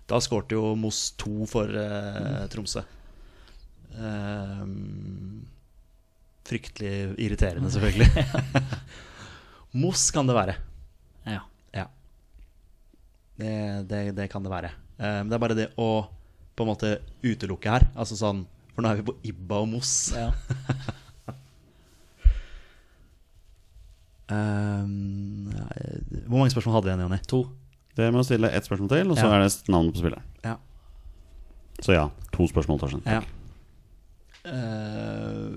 S1: Da skårte jo Moss 2 for eh,
S3: Mm.
S1: Tromsø Ehm, Fryktelig irriterende selvfølgelig Moss kan det være
S3: ja.
S1: Ja Det, det, det kan det være Ehm, Det er bare det å på en måte utelukke her Altså sånn For nå er vi på Ibba og Moss
S3: ja.
S1: Ehm, nei, Hvor mange spørsmål hadde vi igjen, Jonny?
S3: To.
S2: Dere må stille ett spørsmål til, og så
S1: Ja.
S2: er det navnet på spilleren.
S1: Ja.
S2: Så ja, to spørsmål, Torstein.
S1: Ja. Eh,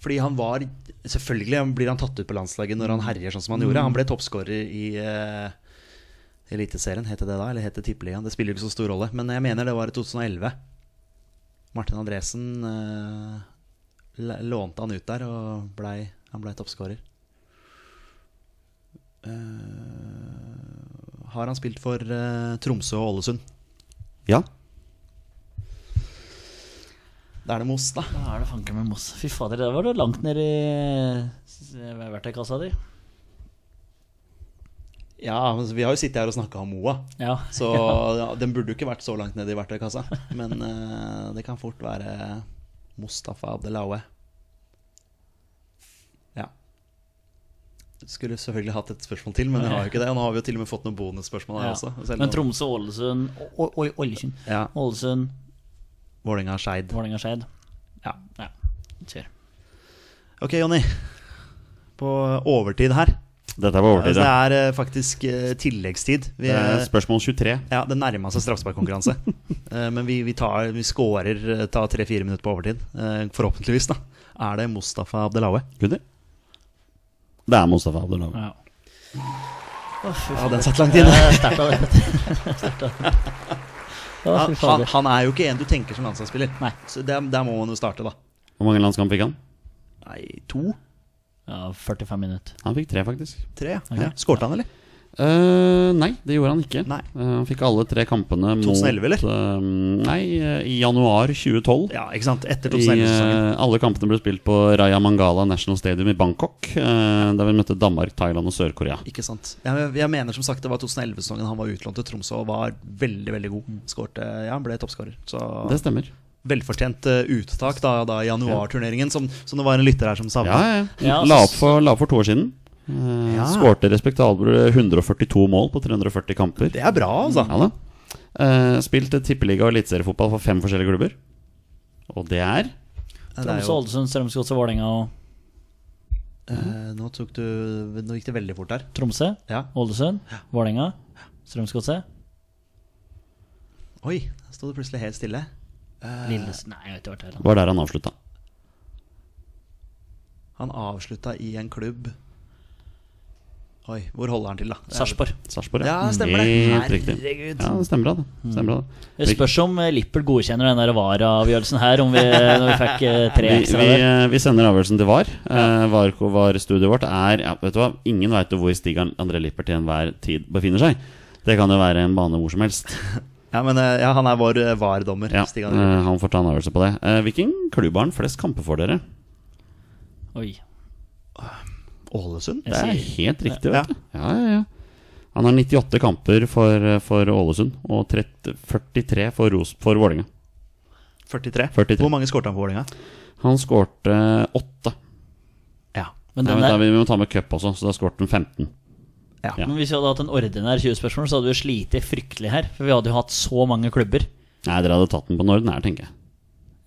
S1: fordi han var Selvfølgelig blir han tatt ut på landslaget når han herjer sånn som han gjorde. Han ble toppskårer i eh, Eliteserien, het det det da? Eller het det Tippeligaen? Det spiller jo ikke så stor rolle. Men jeg mener det var i 2011. Martin Andresen eh, l- lånte han ut der, og blei, han blei toppskårer. Eh, har han spilt for eh, Tromsø og Ålesund?
S2: Ja.
S1: Da er det Moss, da.
S3: Da er det fanken med Moss. Fy fader, der var du langt ned i s- verktøykassa di.
S1: Ja, men Vi har jo sittet her og snakka om Moa,
S3: Ja.
S1: så ja, den burde jo ikke vært så langt nede i verktøykassa. Men eh, det kan fort være Mustafa Abdelaue. Ja. Skulle selvfølgelig hatt et spørsmål til, men jeg har jo ikke det. Og nå har vi jo til og med fått noen bonusspørsmål her
S3: Ja.
S1: også. selv
S3: Men
S1: om-
S3: Tromsø, Ålesund Å- Oi, Ålesund.
S1: Ja.
S3: Ålesund,
S1: Vålerenga Skeid.
S3: Vålerenga, Skeid.
S1: Ja.
S3: Ja. Kjør.
S1: Ok, Jonny. På overtid her.
S2: Dette var
S1: Altså,
S2: overtid.
S1: det
S2: ja.
S1: er eh, faktisk eh, tilleggstid. Vi,
S2: Det
S1: eh,
S2: er Spørsmål 23.
S1: ja, det nærma seg straffesparkkonkurranse. Eh, Men vi, vi, tar, vi scorer eh, tar tre-fire minutter på overtid. Eh, Forhåpentligvis, da. Er det Mustafa Abdelaue?
S2: Gutter? Det er Mustafa Abdullah.
S3: Ja. Å, fy
S1: Ja,
S3: fader.
S1: den satt langt inne.
S3: Eh, Sterkt av deg. Sterkt av deg. Å,
S1: Han,
S3: fy
S1: han,
S3: fader.
S1: han er jo ikke en du tenker som landslagsspiller.
S3: Nei.
S1: Så der, der må man jo starte, da.
S2: Hvor mange landskamp fikk han?
S1: Nei, to?
S3: Ja, 45 minutter.
S2: Han fikk tre, faktisk.
S1: Tre? ja. Ja. Skårte han, eller?
S2: Eh, nei, det gjorde han ikke.
S1: Nei.
S2: Eh, han fikk alle tre kampene mot
S1: 2011, eller?
S2: eh, nei, eh, i januar 2012.
S1: Ja, ikke sant? Etter
S2: I,
S1: 2011-sesongen.
S2: eh, alle kampene ble spilt på Raya Mangala National Stadium i Bangkok. eh, der vi møtte Danmark, Thailand og Sør-Korea.
S1: Ikke sant. Jeg, jeg mener som sagt det var 2011-sesongen han var utlånt til Tromsø og var veldig veldig god. Skårte, ja, Han ble toppskårer. Så
S2: Det stemmer.
S1: velfortjent eh, uttak da, da i januarturneringen, som, som det var en lytter her som
S2: Ja,
S1: savna.
S2: ja.
S3: Ja,
S2: la,
S3: så-
S2: opp for, la opp for to år siden. Eh,
S1: Ja.
S2: Skårte respektable 142 mål på 340 kamper.
S1: Det er bra, altså.
S2: Ja da. Eh, spilt tippeliga og eliteseriefotball for fem forskjellige klubber. Og det er
S1: Det er
S3: Tromsø,
S1: jo,
S3: Ålesund, Strømsgodset, Vålerenga og
S1: eh, nå, tok du, nå gikk det veldig fort der.
S3: Tromsø.
S1: Ja.
S3: Ålesund, Vålerenga, Strømsgodset.
S1: Oi, der sto det plutselig helt stille. Eh.
S3: Lillesund Nei, jeg vet ikke hva det er.
S2: var der han avslutta.
S1: Han avslutta i en klubb Oi, hvor holder han til, da?
S3: Sarpsborg.
S2: Sarpsborg.
S1: Ja, stemmer det.
S2: Helt riktig.
S1: Herregud. Mm.
S2: Ja, det stemmer, det. Stemmer,
S3: Det
S2: det.
S3: spørs om eh, Lippel godkjenner den der VAR-avgjørelsen her, om vi, når vi fikk eh, tre
S2: Vi,
S3: ekstra
S2: vi,
S3: der.
S2: vi sender avgjørelsen til VAR. Eh, VAR, VAR studioet vårt er ja, vet du hva? Ingen veit hvor Stig André Lippert til enhver tid befinner seg. Det kan jo være en bane hvor som helst.
S1: Ja, men eh, ja, han er vår eh, VAR-dommer.
S2: Ja,
S1: Stig André.
S2: eh, han får ta en avgjørelse på det. Eh, hvilken klubb har han flest kamper for dere?
S3: Oi.
S1: Ålesund?
S2: Det er
S3: Jeg sier
S2: helt riktig,
S1: Ja.
S2: vet du. Ja, ja, ja. Han har 98 kamper for, eh, for Ålesund og 30, 43 for, Ros for Vålerenga.
S1: 43.
S2: 43.
S1: Hvor mange skårte han for Vålerenga?
S2: Han skårte 8.
S1: Ja.
S3: Men,
S2: Nei,
S3: den
S2: vent, da,
S3: der,
S2: vi må ta med cup også, så da skårte han 15. ja.
S3: men hvis vi hadde hatt en ordinær 20-spørsmål, så hadde vi slitt fryktelig her. For vi hadde jo hatt så mange klubber.
S2: Nei, dere hadde tatt den på den ordinære, tenker jeg.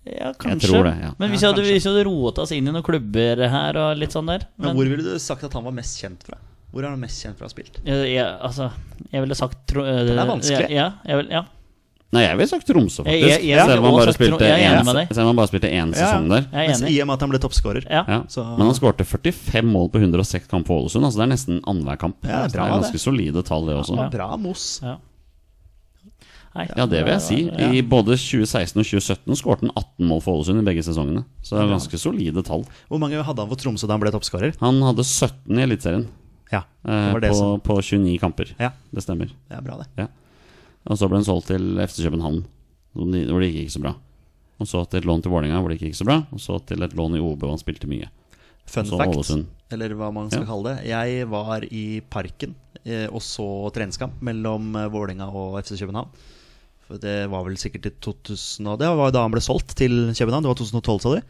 S3: Ja, kanskje.
S2: tror det, ja.
S3: Men hvis vi
S1: Ja,
S3: hadde,
S1: kanskje.
S3: hvis vi hadde roet oss inn i noen klubber her og litt sånn der
S1: Men
S3: men,
S1: hvor ville du sagt at han var mest kjent fra? Hvor er han mest kjent fra spilt?
S3: Eh, jeg, altså, jeg ville sagt tro, eh,
S1: er vanskelig.
S3: Ja, jeg vil, ja.
S2: Nei, jeg ville sagt Tromsø,
S3: Jeg-
S2: faktisk.
S3: jeg- jeg ville
S2: selv, om han
S3: også
S2: bare
S3: sagt Trom-
S2: spilte
S3: jeg er enig
S2: én-
S3: med deg.
S2: selv om han bare spilte én sesong der.
S3: Jeg er
S1: Mens
S3: enig.
S1: I og med at han ble toppskårer.
S3: Ja.
S2: Ja.
S1: Så-
S2: Men han skårte 45 mål på 106 kamp for Ålesund. Altså Det er nesten annenhver kamp.
S1: Ja,
S2: Så
S1: det er
S2: det
S1: bra,
S2: er
S1: det.
S2: ganske solide tall, det også.
S3: Ja.
S1: Bra Moss.
S3: Ja. Nei,
S2: Ja, det vil jeg si.
S3: Ja.
S2: I både 2016 og 2017 skårte han 18 mål for Ålesund i begge sesongene. Så det er ganske solide tall.
S1: Hvor mange hadde han for Tromsø da han ble toppskårer?
S2: Han hadde 17 i Eliteserien
S1: Ja, det
S2: eh,
S1: var det
S2: på,
S1: som
S2: på 29 kamper.
S1: Ja,
S2: Det stemmer.
S1: det er bra, det.
S2: Og så ble han solgt til FC København, hvor det hvor det gikk ikke så bra. Og så til et lån til Vålerenga, hvor det gikk ikke så bra. Og så til et lån i OB, hvor han spilte mye.
S1: Fun
S2: Så
S1: fact,
S2: Ålesund.
S1: eller hva man skal
S2: Ja.
S1: kalle det. Jeg var i Parken eh, og så treningskamp mellom eh, Vålerenga og FC København. For det var vel sikkert i 2000 og Det var da han ble solgt til København. Det var 2012, sa du.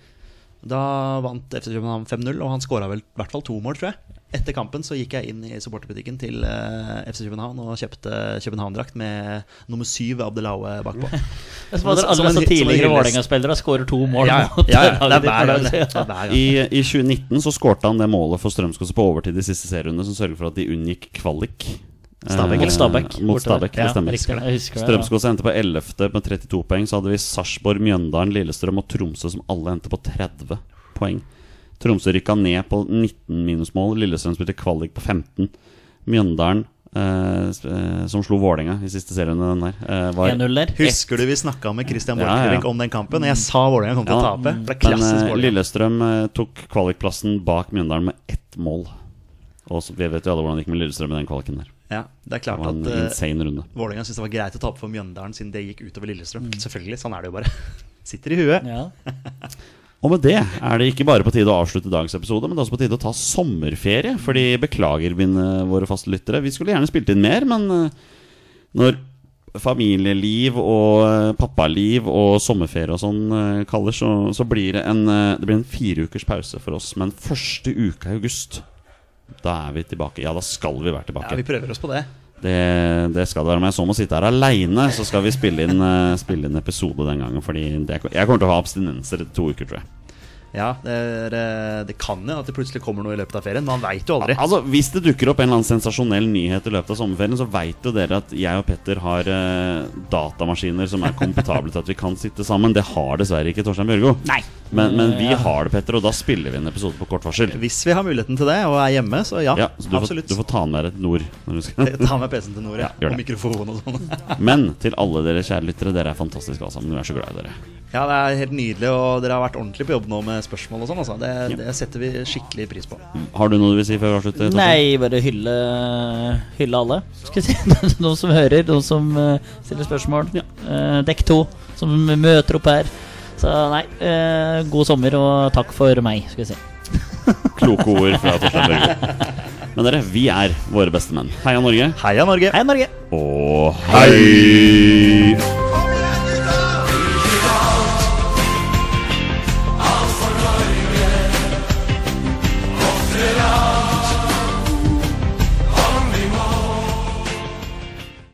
S1: Da vant FC København 5-0, og han skåra vel i hvert fall to mål, tror jeg. Etter kampen så gikk jeg inn i supporterbutikken til eh, FC København og kjøpte København-drakt med nummer syv Abdelaue bakpå.
S3: Jeg spør
S1: Som- som en- som en
S3: alle disse tidligere
S1: hyllest.
S3: Vålerenga-spillere skårer to mål.
S1: Ja, ja.
S3: mot
S1: Ja, ja. Det er
S3: laget ditt
S1: hver
S3: når
S1: gang,
S3: de-
S1: det. Det er hver gang.
S2: I, I 2019 så skårte han det målet for Strømskog på overtid i siste serierunde, som sørger for at de unngikk kvalik. Eh,
S1: Stabæk,
S3: Mot Stabæk.
S2: Mot
S3: bortover.
S2: Stabæk, det
S3: Ja,
S2: stemmer.
S3: riktig. Jeg husker det, ja.
S2: Strømskog endte på 11. med 32 poeng. Så hadde vi Sarpsborg, Mjøndalen, Lillestrøm og Tromsø som alle endte på 30 poeng. Tromsø rykka ned på 19 minusmål. Lillestrøm spilte kvalik på 15. Mjøndalen, eh, sp- eh, som slo Vålerenga i siste serien, den der, eh, var
S3: 1-0 der.
S1: Husker du vi snakka med Christian
S2: Ja, ja.
S1: Borchgrevink om den kampen? Og jeg sa Vålerenga kom til
S2: Ja,
S1: å tape. For det er
S2: Men
S1: klassisk
S2: eh,
S1: Vålerenga.
S2: Lillestrøm eh, tok kvalikplassen bak Mjøndalen med ett mål. Og så, Vi vet jo alle hvordan det gikk med Lillestrøm i den kvaliken der.
S1: Ja, det er
S2: Det
S1: klart
S2: var en
S1: at eh,
S2: insane runde. Mm.
S1: Vålerenga syntes det var greit å tape for Mjøndalen siden det gikk utover Lillestrøm. Selvfølgelig, sånn er det jo bare. Sitter i huet.
S3: Ja.
S2: Og med det er det ikke bare på tide å avslutte dagens episode, men det er også på tide å ta sommerferie. Fordi beklager, mine våre faste lyttere. Vi skulle gjerne spilt inn mer, men eh, når familieliv og eh, pappaliv og sommerferie og sånn eh, kaller, så, så blir det en, eh, det blir en fire ukers pause for oss. Men første uka i august, da er vi tilbake. Ja, da skal vi være tilbake.
S1: Ja, vi prøver oss på det.
S2: Det, det skal det være. Om jeg så må sitte her aleine, så skal vi spille inn, eh, spille inn episode den gangen. Fordi det, jeg kommer til å ha abstinenser etter to uker, tror jeg.
S1: Ja, det, er, eh, det kan jo at det plutselig kommer noe i løpet av ferien. Man veit jo aldri.
S2: Altså, Hvis det dukker opp en eller annen sensasjonell nyhet i løpet av sommerferien, så veit jo dere at jeg og Petter har eh, datamaskiner som er kompetable til at vi kan sitte sammen. Det har dessverre ikke Torstein Bjørgo.
S1: Nei.
S2: Men, men vi
S3: Ja.
S2: har det, Petter, og da spiller vi en episode på kort varsel.
S1: Hvis vi har muligheten til det og er hjemme, så ja.
S2: Ja, så du, får,
S1: absolutt.
S2: du får ta den med deg et nord. Når du skal.
S1: Ta med PC-en til Nore
S2: Ja, gjør
S1: og
S2: det.
S1: mikrofon og sånn.
S2: Men til alle dere kjære lyttere, dere er fantastiske alle sammen. Vi er så glad i dere.
S1: Ja, det er helt nydelig, og dere har vært ordentlig på jobb nå med spørsmål og sånn. Altså. Det,
S2: Ja.
S1: det setter vi skikkelig pris på.
S2: Har du noe du vil si før vi avslutter? Torstein?
S3: Nei, bare hylle, hylle alle. Skal jeg si De som hører, de som eh, stiller spørsmål. Eh, dekk to, som møter opp her. Så nei, eh, god sommer og takk for meg, skal jeg si.
S2: Kloke ord fra Torstein Børge. Men dere, vi er våre beste menn. Heia Norge,
S1: Heia Norge!
S3: Hei, Norge!
S2: og hei!